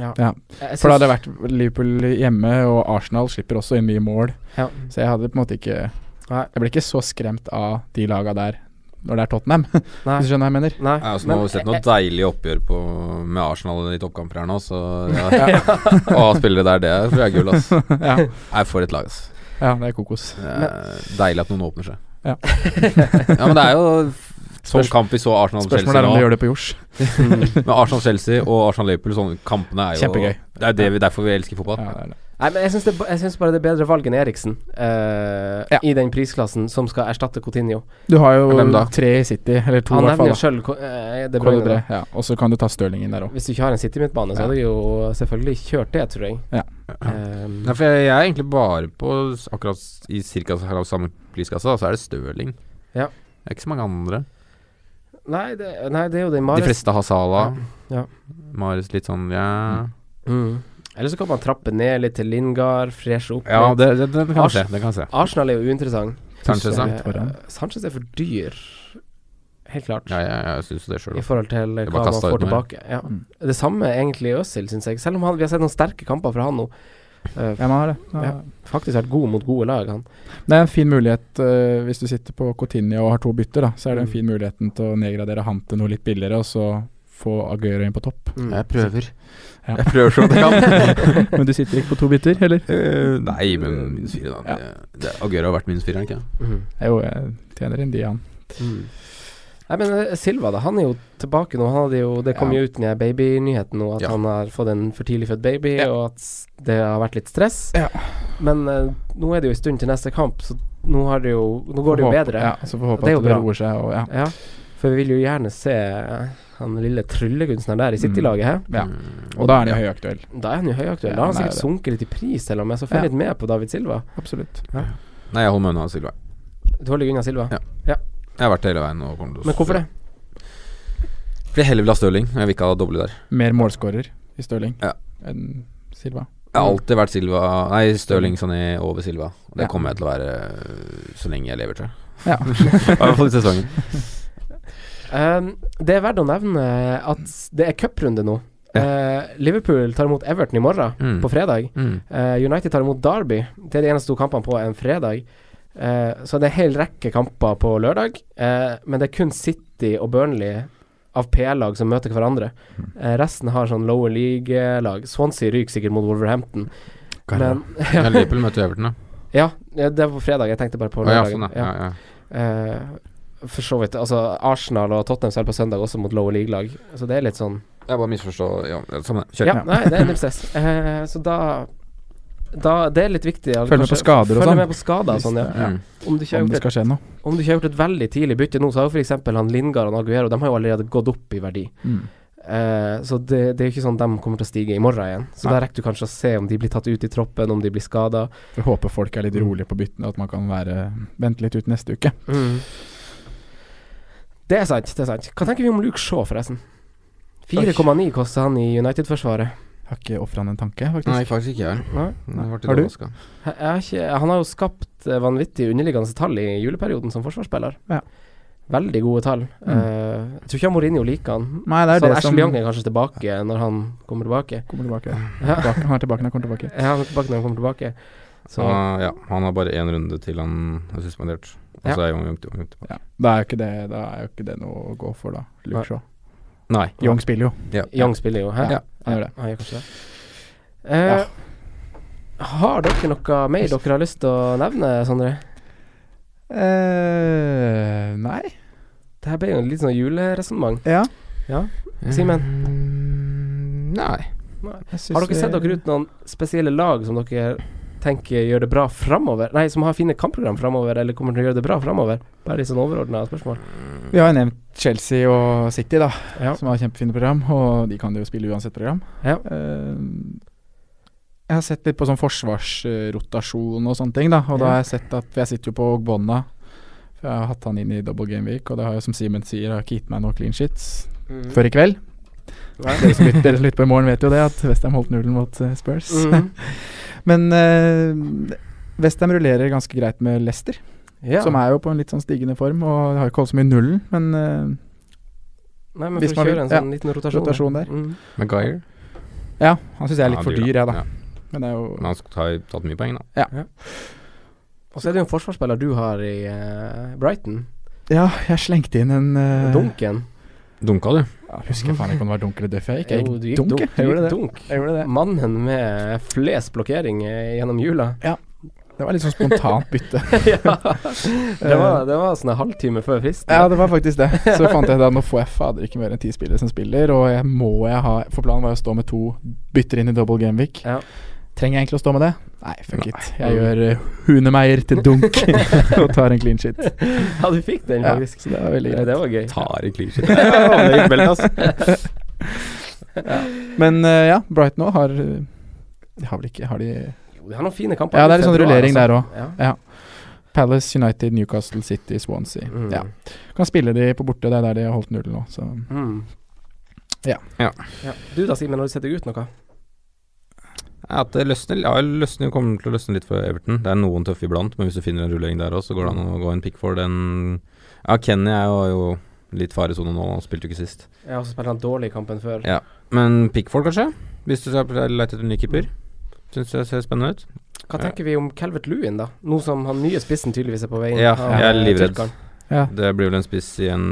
D: ja.
C: jeg
D: For da hadde det
C: syns-
D: vært Liverpool hjemme, og Arsenal slipper også inn mye mål.
C: Ja.
D: Så jeg hadde på en måte ikke
C: Nei.
D: Jeg ble ikke så skremt av de laga der når det er Tottenham,
C: Nei.
D: hvis du skjønner hva jeg mener.
C: Nei,
A: Jeg har også nå sett noe deilig oppgjør på, med Arsenal i toppkamper her nå, så ja. Å ha spillere der, det tror jeg er gull, ass.
D: ja.
A: Nei, for et lag, ass.
D: ja, det er kokos.
A: Det er deilig at noen åpner seg.
D: Ja.
A: Ja, men det er jo sånn
D: Spørs-
A: kamp vi så Arsenal-Chelsea
D: Spørsmålet er om de
A: nå.
D: gjør det på jords.
A: Men Arsenal-Chelsea og Arsenal-Liverpool, sånne kampene er jo
D: Kjempegøy.
A: Det er det vi, derfor vi elsker fotball.
D: Ja, det er det.
C: Nei, men jeg syns, det, ba- jeg syns bare det er bedre valg enn Eriksen eh,
D: Ja.
C: i den prisklassen som skal erstatte Coutinho.
D: Du har
A: Hvem da?
D: jo tre i City, eller to i
C: Han
D: hvert
C: nevner
D: fall. da.
C: jo sjøl uh, De
D: Kåre
C: Bruyne.
D: Dre,
C: da.
D: Ja. Og så kan du ta Stirling inn der òg.
C: Hvis du ikke har en City-midtbane,
D: Ja.
C: så hadde jeg jo selvfølgelig kjørt det, tror jeg.
D: Ja.
C: Ehm,
A: Nei, for jeg, jeg er egentlig bare på s- akkurat s- i cirka s- her av samme priskasse, da, så er det Stirling.
C: Ja.
A: Det er ikke så mange andre.
C: nei, det, nei, det er jo den
A: De
C: Mares
A: fleste har Sala.
C: Ja. Ja.
A: Marius litt sånn, ja
C: mm. Eller så kan man trappe ned litt til Lingard, freshe opp
A: Ja,
C: litt.
A: det, det, den kan vi
C: Ars-
A: se. Den kan vi se.
C: Arsenal er jo uinteressant.
A: Sanchez,
D: Tusen
A: ja.
D: takk. Litt foran.
C: Eh, Sanchez er for dyr, helt klart,
A: Ja, ja, ja, jeg syns det sjøl
C: i forhold til eh,
A: Det
C: hva
A: var
C: man
A: kastet
C: får
A: ut med.
C: tilbake. Ja.
D: Mm.
C: Det samme egentlig Øzil, syns jeg. Selv om han, vi har sett noen sterke kamper fra han nå. Eh,
D: Ja, man har det. Ja.
C: Ja. faktisk vært god mot gode lag, han.
D: Det er en fin mulighet eh, hvis du sitter på Cotinio og har to bytter, da, så er det en
C: Mm.
D: fin muligheten til å nedgradere han til noe litt billigere, og så få Aguero inn på topp.
C: Mm.
A: Jeg prøver.
D: Ja.
A: Jeg prøver så godt jeg kan.
D: Men du sitter ikke på to bytter, eller?
A: Eh, nei, men minus fire, da.
D: Ja.
A: Det- det- Aguero har vært minus fire, har han ikke?
C: Mm.
D: Jo, jeg tjener inn de, han.
C: Mm. Nei, men eh, Silva, da. Han er jo tilbake nå. Han hadde jo, det kom
D: Ja.
C: jo ut i den her babynyheten nå at
A: Ja.
C: han har fått en for tidlig født baby,
D: Ja.
C: og at s- det har vært litt stress.
D: Ja.
C: Men eh, nå er det jo en stund til neste kamp, så nå, har det jo, nå går det jo
D: Håper-
C: bedre.
D: Ja, så får vi
C: Det
D: håpe
C: er jo
D: at det
C: bra.
D: roer seg. Og, ja.
C: Ja, for vi vil jo gjerne se eh, han lille tryllekunstneren der i
D: Mm.
C: City-laget her.
D: Ja.
A: Mm.
D: og da er han jo høyaktuell.
C: Da er han jo høyaktuell.
D: Ja,
C: Da har han
D: han er
C: sikkert sunket litt i pris, selv om jeg så følger
D: Ja.
C: litt med på David Silva.
D: Absolutt.
A: Nei, jeg holder meg unna Silva.
C: Du holder deg unna Silva.
A: Ja. Jeg har vært det hele veien. Og kommer til å-
C: Men hvorfor det?
A: Fordi jeg heller vil ha Stirling. Jeg vil ikke ha doble der.
D: Mer målskårer i Stirling
A: Ja.
D: enn Silva.
A: Jeg har alltid vært Silva Nei, Stirling Sané over Silva. Og det
D: Ja.
A: kommer jeg til å være øh, så lenge jeg lever, tror jeg.
D: Ja.
A: I hvert fall i sesongen.
C: Um, det er verdt å nevne at det er cuprunde nå.
A: Ja.
C: Eh, Liverpool tar imot Everton i morgen,
A: Mm.
C: på fredag.
A: Mm.
C: Eh, United tar imot Derby. Det er de eneste to kampene på en fredag. Eh, så det er en hel rekke kamper på lørdag, eh, men det er kun City og Burnley av PL-lag som møter hverandre.
A: Mm.
C: Eh, resten har sånn lower league-lag. Swansea ryker sikkert mot Wolverhampton. Men,
A: Ja, Liverpool møter Everton, da.
C: ja, det er på fredag. Jeg tenkte bare på
A: Å, ja,
C: lørdag.
A: sånn, ja. Ja, ja.
C: Eh, for så vidt. Altså, Arsenal og Tottenham spiller på søndag også mot lower league-lag. Så det er litt sånn
A: Jeg bare misforstår ja, det er Samme det. Kjør.
C: Ja,
D: Ja.
C: nei, det er null stress. Eh, så da, da Det er litt viktig. altså,
D: Følg med
C: kanskje-
D: på skader og
C: følg
D: sånn.
C: med på skader og sånn. Ja.
D: Ja.
A: Mm.
C: Om, du ikke har
D: Om
C: gjort
D: det
C: et,
D: skal skje noe.
C: om du ikke har gjort et veldig tidlig bytte nå, så har jo f.eks. han Lingard og Aguero De har jo allerede gått opp i verdi.
D: Mm.
C: Eh, så det, det er jo ikke sånn de kommer til å stige i morgen igjen. Så
D: Nei.
C: da rekker du kanskje å se om de blir tatt ut i troppen, om de blir skada.
D: Jeg håper folk er litt
A: Mm.
D: rolige på byttene, at man kan være, vente litt ut neste uke.
C: Det er sant, det er sant. Hva tenker vi om Luke Shaw, forresten? 4,9 koster han i United-forsvaret.
D: Har ikke ofra han en tanke, faktisk.
A: Nei, faktisk ikke jeg heller. Jeg
C: Nei.
A: har vært litt
D: Har du?
A: overrasket.
C: Jeg er ikke, han har jo skapt eh, vanvittig underliggende tall i juleperioden som forsvarsspiller.
D: Ja.
C: Veldig gode tall.
D: Mm.
C: Eh, jeg tror ikke han Mourinho liker han.
D: Nei, det er
C: Så
D: det som
C: Ashley Young er kanskje tilbake når han kommer tilbake.
D: kommer tilbake.
C: Ja.
D: tilbake. Han er tilbake når han kommer tilbake.
C: Ja, han er tilbake når han kommer tilbake. Så
A: Ah, ja, han har bare én runde til han er suspendert. Og så
C: Ja.
A: er Young Young Young tilbake.
D: Ja. Da er jo ikke det, da er jo ikke det noe å gå for, da.
C: Nei.
D: Luke Shaw.
A: Nei.
D: Young spiller jo.
A: Ja.
C: Young spiller jo her.
D: Ja, han gjør det.
C: Han gjør kanskje det. Eh, Har dere noe mer dere har lyst til å nevne, Sondre?
D: Eh, nei.
C: Det her ble jo en litt sånn juleresonnement.
D: Ja.
C: Simen?
A: Mm, Nei.
D: jeg synes
C: Har dere sett
D: vi-
C: dere ut noen spesielle lag som dere tenker gjør det bra framover? Nei, som har fine kampprogram framover, eller kommer til å gjøre det bra framover? Bare litt sånn overordna spørsmål.
D: Vi har jo nevnt Chelsea og City, da,
C: Ja.
D: som har kjempefine program. Og de kan jo spille uansett program.
C: Ja.
D: Eh, jeg har sett litt på sånn forsvarsrotasjon og sånne ting, da. Og da
C: Ja.
D: har jeg sett at Jeg sitter jo på Ogbonna. for Jeg har hatt han inn i double game week, og det har jo, som Simen sier, har ikke gitt meg noe clean shits
C: Mm.
D: før i kveld. Dere som lytter, dere som lytter på i morgen, vet jo det, at Westham holdt nullen mot eh, Spurs.
C: Mhm.
D: Men uh, Westham rullerer ganske greit med Leicester,
C: Ja.
D: som er jo på en litt sånn stigende form. Og har ikke holdt så mye nullen, men eh,
C: Nei, men
D: hvis man
C: for å
D: vil-
C: kjøre en
D: ja,
C: sånn liten rotasjon,
D: rotasjon der.
C: Mhm.
A: Maguire.
D: ja, han syns jeg er litt
A: Ja,
D: for
A: dyr,
D: dyr, jeg, da.
A: Ja.
D: Men det er jo
A: Men han sk- har jo tatt mye poeng, da.
C: Og så er det jo en forsvarsspiller du har i eh, Brighton.
D: Ja, jeg slengte inn en eh,
C: Dunken.
A: Dunka, du.
D: Ja, husker jeg faen ikke om det var dunk eller duff. Jeg gikk jeg
C: Jo,
D: gikk
C: du gikk
D: dunk,
C: dunk,
D: jeg.
C: du
D: Jeg gjorde
C: gikk
D: det.
C: dunk.
D: Jeg gjorde det.
C: Mannen med flest blokkering eh, gjennom jula.
D: Det var litt sånn spontant bytte.
C: ja. Det var, det var sånn en halvtime før fristen.
D: Ja, det var faktisk det. Så fant jeg da nå får jeg fader ikke mer enn ti spillere som spiller, og jeg må jeg ha For planen var å stå med to bytter inn i double game week.
C: Ja.
D: Trenger jeg egentlig å stå med det? Nei, fuck
A: Nei.
D: it. Jeg gjør eh, Hunemeier til dunk og tar en clean shit.
C: ja, du fikk den
D: Ja,
C: faktisk.
D: så det var veldig
C: Ja,
D: greit.
C: det var gøy.
A: Tar i clean shit. Ja, det gikk vel,
D: Men eh, ja, Brighton òg har eh, De har vel ikke Har de
C: Jo, de har noen fine kamper.
D: Ja, det
C: i
D: er litt sånn
C: februar,
D: rullering
C: altså.
D: der òg.
C: Ja.
D: Palace, United, Newcastle, City, Swansea.
C: Mm.
D: Ja. Kan spille de på borte, det er der de har holdt nullen nå, så
C: Mm.
D: Ja.
A: Ja.
C: Du da, Simen, har du sett deg ut noe?
A: At det løsner, ja, løsner kommer til å løsne litt for Everton. Det er noen tøffe iblant, men hvis du finner en rullering der òg, så går det an å gå en pick for den. Ja, Kenny er jo, er jo litt faresone nå, han spilte jo ikke sist.
C: Jeg har også spilt han dårlig i kampen før.
A: Ja. Men Pickford, kanskje? Hvis du skal lete etter en ny keeper. Syns jeg ser spennende ut.
C: Hva tenker vi om Calvert Lewin, da? Nå som han nye spissen tydeligvis er på vei inn.
A: Ja,
C: Han,
A: jeg er
C: eh,
A: livredd.
C: tyrkeren.
D: Ja.
A: Det blir vel en spiss i en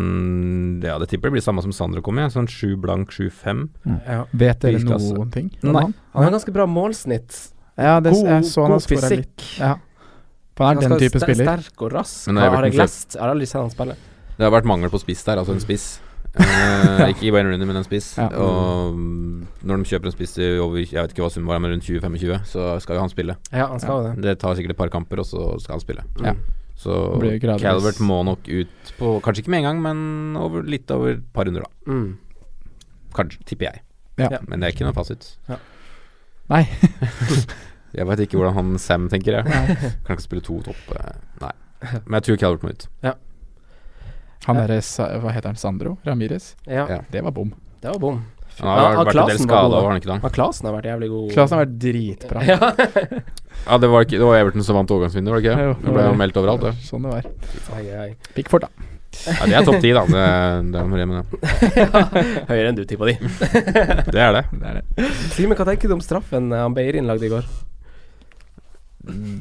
A: Ja, det tipper det blir samme som Sandro kom i. Sånn sju blank, sju fem.
C: Ja.
D: Vet dere
A: Prisklasse.
D: noen ting?
A: Nei.
D: Han?
C: Han har ganske bra målsnitt.
D: Ja, det,
C: God-
D: jeg så han
C: god
D: har skåra
C: fysikk.
D: litt. Ja. For han er
C: Han
D: den
C: skal
D: type
C: ster-
D: spiller.
C: Sterk og rask.
A: Men
C: Har
A: det er
C: jeg
A: Everton
C: lest? Jeg har aldri sett han spille.
A: Det har vært mangel på spiss der, altså en spiss. Eh, ikke i Wayne Rooney, men en spiss.
D: Ja.
A: Og mm, når de kjøper en spiss i over Jeg vet ikke hva summen var, men rundt 20-25, så skal jo han spille.
C: Ja, han skal jo det.
A: Det tar sikkert et par kamper, og så skal han spille.
D: Ja.
A: Så
D: Blir jo gradvis.
A: Calvert må nok ut på Kanskje ikke med en gang, men over, litt over et par runder, da.
C: Mm.
A: Kanskje, tipper jeg.
D: Ja.
C: Ja.
A: Men det er ikke noe fasit.
C: Ja.
D: Nei.
A: jeg veit ikke hvordan han Sam tenker, jeg. Kan ikke spille to topp eh, Nei. Men jeg tror Calvert må ut.
D: Han derre Sa- Hva heter han? Sandro Ramirez?
C: Ja,
A: Ja.
D: Det var bom.
C: det var bom.
A: Han har vært
C: Ja,
A: en del
C: Klaassen var god,
A: skada,
C: da.
A: var han ikke det?
C: Men Klasen har vært jævlig god.
D: Klasen har vært dritbra.
C: Ja.
A: Ja, det var, ikke, det var Everton som vant overgangsvinduet, var det ikke?
D: Jo,
A: det ble jo meldt overalt, det.
D: Sånn det var.
C: ai, ai.
D: Pickford, da.
A: Ja, det er topp ti, da. Det, det, er noe med det.
C: Høyere enn du tippa de.
A: det er det.
D: Det er det.
C: Simen, hva tenker du om straffen eh, han Beirin lagde i går?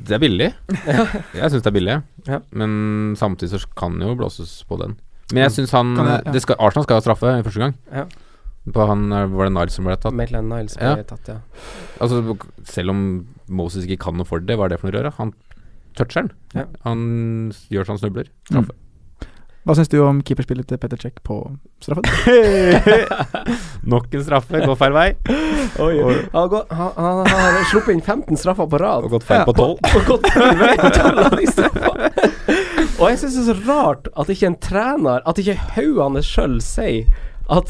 A: Det er billig. Jeg syns det er billig,
C: Ja.
A: men samtidig så kan jo blåses på den. Men jeg syns han
D: Mm. Kan jeg- ja.
A: det skal, Arsenal skal ha straffe i første gang.
C: Ja.
A: På han eh, Var det Niles som ble tatt?
C: Maitland Niles ble
A: Ja.
C: tatt, ja.
A: Altså, selv om Moses ikke kan noe for det, hva er det for noe rør? da? Han toucher den.
C: Ja.
A: Han gjør så han snubler.
D: Mm. Hva syns du om keeperspillet til Petter Cech på straffen?
A: Nok en straffe, går feil vei.
C: Han, har gått- han, han, han har sluppet inn 15 straffer på rad.
A: Og gått feil på tolv.
C: Og gått feil vei på 12 av de straffene. Og jeg syns det er så rart at ikke en trener, at ikke haugene sjøl sier at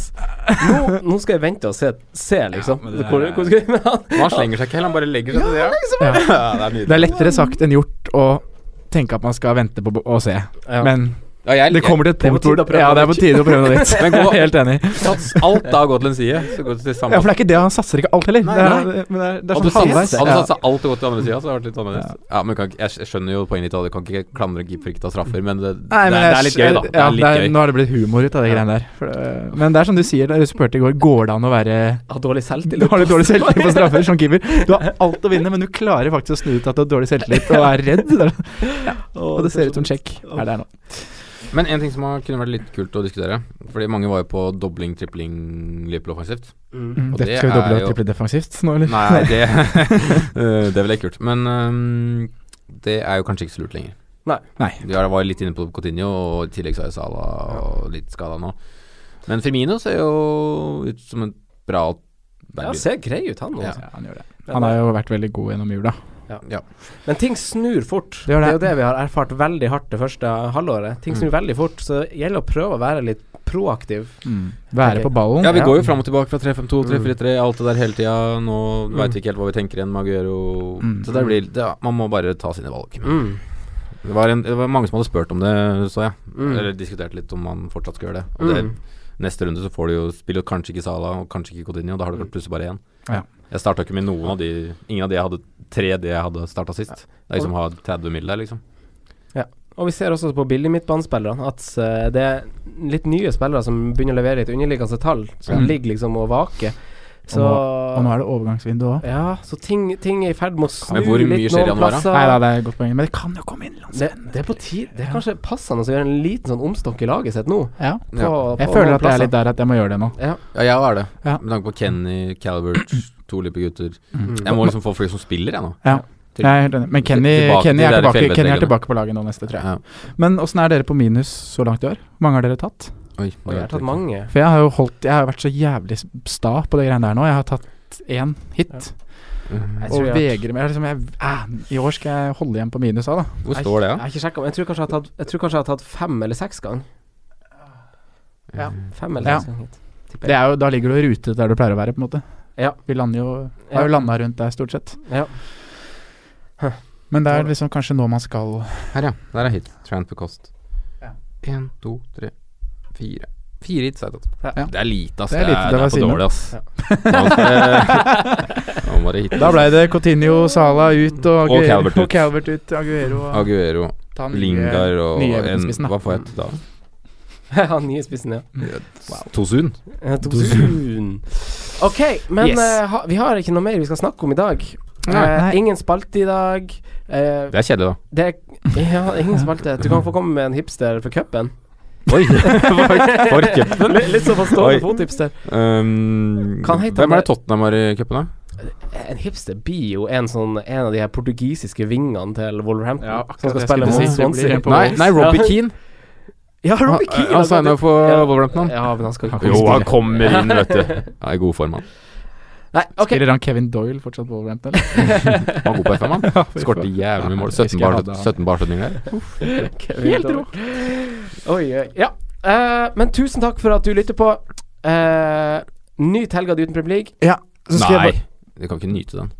C: nå, nå skal jeg vente og se, se liksom.
A: men det er-
C: hvor, hvor skal jeg med han?
A: Men Han slenger seg ikke heller, han bare legger seg til det. Ja.
D: Ja. liksom.
A: det er
D: Det er lettere sagt enn gjort å tenke at man skal vente på å se,
C: Ja.
D: men
A: Ja, jeg,
D: det kommer til et
C: Det er på
D: punkt hvor
C: tide å prøve
D: Ja, det er
C: noe
D: på tide å prøve noe nytt.
A: Men
D: Jeg
A: gå-
D: er helt enig.
A: Sats alt da går til en side, så går det til
D: Ja,
A: samme
D: for det er ikke det han satser ikke alt heller.
A: Nei,
D: det er,
A: nei.
D: Men det er, det er
A: Hadde du
D: sånn halvveis.
A: satsa hadde
D: Ja.
A: du satsa alt og gått til andre sida, så hadde det vært litt annerledes. Ja, men kan, ikke- jeg, jeg skjønner jo poenget ditt, og du kan ikke klandre keeper ikke ta straffer, men det,
D: Nei, men
A: det, er, det er litt gøy, da. Det
D: Ja,
A: er litt gøy.
D: Nå har det blitt humor ut av det
A: Ja.
D: greiene der. For det, men det er som du sier, da du spurte i går, går det an å være
C: Har dårlig
D: Du
C: selvtillit.
D: har litt dårlig selvtillit på straffer som keeper. Du har alt å vinne, men du klarer faktisk å snu ut at du har dårlig selvtillit og er redd. Det er- Og det ser ut som sjekk. Er det her nå?
A: Men en ting som har- kunne vært litt kult å diskutere, fordi mange var jo på dobling, tripling Liverpool offensivt.
C: Mm.
A: Og
D: Dette
A: det
D: skal vi
A: er
D: doble
A: jo-
D: og triple defensivt nå, eller?
A: Nei, det Eh, Det er vel ikke kult. Men ehm, det er jo kanskje ikke så lurt lenger.
C: Nei.
D: Nei.
A: Vi har- var litt inne på Coutinho, og i tillegg så er Salah og litt skada nå. Men Firmino ser jo ut som en bra
C: Ja, ser grei ut, han nå.
A: Ja.
C: altså.
D: Ja, han gjør det. Han har jo vært veldig god gjennom jula.
C: Men ting snur fort.
D: Det gjør det. Mm.
C: er jo det vi har erfart veldig hardt det første halvåret. Ting snur veldig fort, så det gjelder å prøve å være litt proaktiv.
D: Være på ballen.
A: Mm. Ja, vi
C: Ja.
A: går jo fram og tilbake fra 3-5-2,
D: Mm.
A: 3-4-3, alt det der hele tida. Nå
C: Mm.
A: veit vi ikke helt hva vi tenker igjen med Aguero.
D: Mm.
A: Så det blir det, Man må bare ta sine valg.
C: Mm.
A: Det, var en, det var mange som hadde spurt om det, så jeg.
C: Mm.
A: Eller diskutert litt om man fortsatt skal gjøre det. Og
C: Mm.
A: det neste runde så får du jo spiller jo kanskje ikke Sala og kanskje ikke Coutinho, da har du
C: Mm.
A: plutselig bare én.
D: Ja.
A: Jeg starta ikke med noen av de Ingen av de jeg hadde tre det jeg hadde starta sist. Det er liksom å ha 30 mill. der, liksom.
C: Og vi ser også på billig midtbanespillerne at eh, det er litt nye spillere som begynner å levere litt underliggende tall, som
D: Mm.
C: ligger liksom og vaker. Så
D: Og nå er det overgangsvindu òg.
C: Ja, så ting, ting er i ferd med å snu
A: Men hvor mye
C: litt
A: skjer i
C: noen
A: januar, da?
C: plasser.
D: Nei da, det er et godt poeng. Men det kan jo komme innenlands.
C: det, det er på tide. Det er kanskje passende å gjøre en liten sånn omstokk i laget sitt nå.
D: Ja.
C: På,
A: Ja.
D: Jeg
C: på
D: føler
C: noen
D: at jeg er
C: plasser.
D: litt der at jeg må gjøre det nå.
A: Ja, jeg er det.
D: Ja.
A: Med tanke på Kenny, Calvert, to Lippe-gutter.
C: Mm.
A: Jeg må liksom få folk som spiller, jeg nå. Til-
D: Jeg er helt enig. Men Kenny,
A: tilbake
D: Kenny,
A: til
D: er
A: de der
D: tilbake, Kenny er
A: fjellvettreglene.
D: tilbake på laget nå neste, tror jeg.
A: Ja.
D: Men åssen er dere på minus så langt i år? Hvor mange har dere tatt?
A: Oi,
C: Og jeg har tatt mange.
D: For jeg har jo holdt Jeg har jo vært så jævlig sta på det greiene der nå. Jeg har tatt én hit.
A: Mm.
C: Jeg
D: Og
C: tror jeg-
D: vegrer meg jeg er liksom, jeg, æ, I år skal jeg holde igjen på minus av, da.
A: Hvor står det,
C: Jeg har ikke sjekket, men jeg tror kanskje jeg har tatt, jeg tror kanskje jeg har tatt fem eller seks ganger.
D: Ja.
C: Fem
D: Ja.
C: eller seks ganger hit. tipper
D: Det
C: jeg.
D: er jo, da ligger du i rute der du pleier å være, på en måte.
C: Ja.
D: Vi lander jo
C: Ja.
D: Har jo landa rundt der, stort sett.
C: Ja.
D: Men det er liksom kanskje nå man skal
A: Her, ja. Der er hit. Transfer cost.
D: Ja.
A: Én, to, tre, fire, Fire hits har jeg tatt.
C: Ja.
A: Det er lite, ass.
D: Det er
A: Det er,
D: lite,
A: det er
D: det
A: for
D: var
A: dårlig, ass. Nå skal- Nå må det hit.
D: Da ble det Cotinio, Sala ut og,
A: Og
D: Aguero-
A: Calvert ut.
D: og Calvert ut. Aguero og
A: Aguero,
D: ta den nye-
A: Lingard og
D: nye
A: en,
D: Everton-spissen, da. Mm.
A: Hva får jeg til da?
C: Han nye spissen, ja.
A: Tosun?
C: Eh, Tosun. OK, men
D: Yes.
C: eh, ha, vi har ikke noe mer vi skal snakke om i dag.
D: Nei,
C: Eh,
D: nei.
C: ingen spalte i dag. Eh,
A: Det er kjedelig, da.
C: det er ja, ingen spalte. Du kan få komme med en hipster for cupen.
A: Oi! for- For cupen.
C: Litt, litt sånn på
A: Oi.
C: stående fot-hipster.
A: Um,
C: Kan hete
A: hvem
C: han
A: er
C: der-
A: det Tottenham har i cupen, da?
C: Eh, En hipster blir jo en, sånn, en av de her portugisiske vingene til Wolverhampton.
D: Ja, akkurat
C: som skal
D: det jeg
C: spille mot
D: skulle si. Det blir
C: Swansea.
D: en på
A: Nei, nei Robbie Keane.
C: Ja,
A: Han,
C: Robbie Keane.
A: han signa for
C: Ja.
A: Wolverhampton, han.
C: Ja, men han skal ikke
D: Han
A: Jo,
C: spille.
A: han kommer inn, vet du. Ja, I god form, han.
C: Nei, ok.
D: Spiller han Kevin Doyle fortsatt på Wolverhampton? eller?
A: Han er god på FM, han. Skårte jævlig mye mål. 17 bar- 17 barslutninger der.
C: Helt rå. Oi, oi. Ja. Eh, men tusen takk for at du lytter på. Uh, Nyt helga uten Premier League.
D: Ja, så skal
A: Nei,
D: jeg
A: du kan ikke nyte den.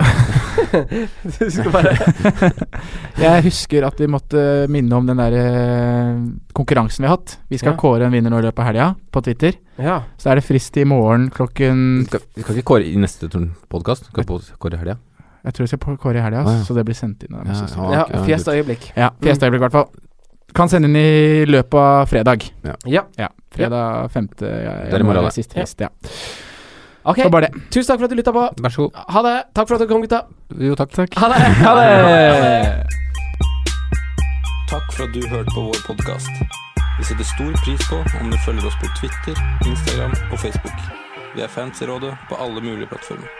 C: Du skal bare
D: bare Jeg husker at vi måtte minne om den der eh, konkurransen vi har hatt. Vi skal
C: Ja.
D: kåre en vinner nå i løpet av helga, på Twitter.
C: Ja.
D: Så er det frist i morgen
A: Vi
D: klokken
A: skal, vi skal ikke kåre i neste podkast. Skal på kåre i helga.
D: Jeg tror vi skal på- kåre i helga,
A: Ah, ja.
D: så det blir sendt inn. Ja, ja.
C: ja Fjes øyeblikk.
D: ja Fjestøyeblikk, i hvert fall. Kan sende inn i løpet av fredag.
C: Ja.
D: Ja, fredag 5. Ja,
A: er i morgen,
D: januar,
A: det.
D: Siste frist, ja.
C: OK.
D: Så bare det.
C: Tusen takk for at du lytta på.
A: Vær så god.
C: Ha det. Takk for at dere kom, gutta.
A: Jo, takk.
C: Ha det. Ha det.
B: Takk for at du hørte på vår podkast. Vi setter stor pris på om du følger oss på Twitter, Instagram og Facebook. Vi er fans i rådet på alle mulige plattformer.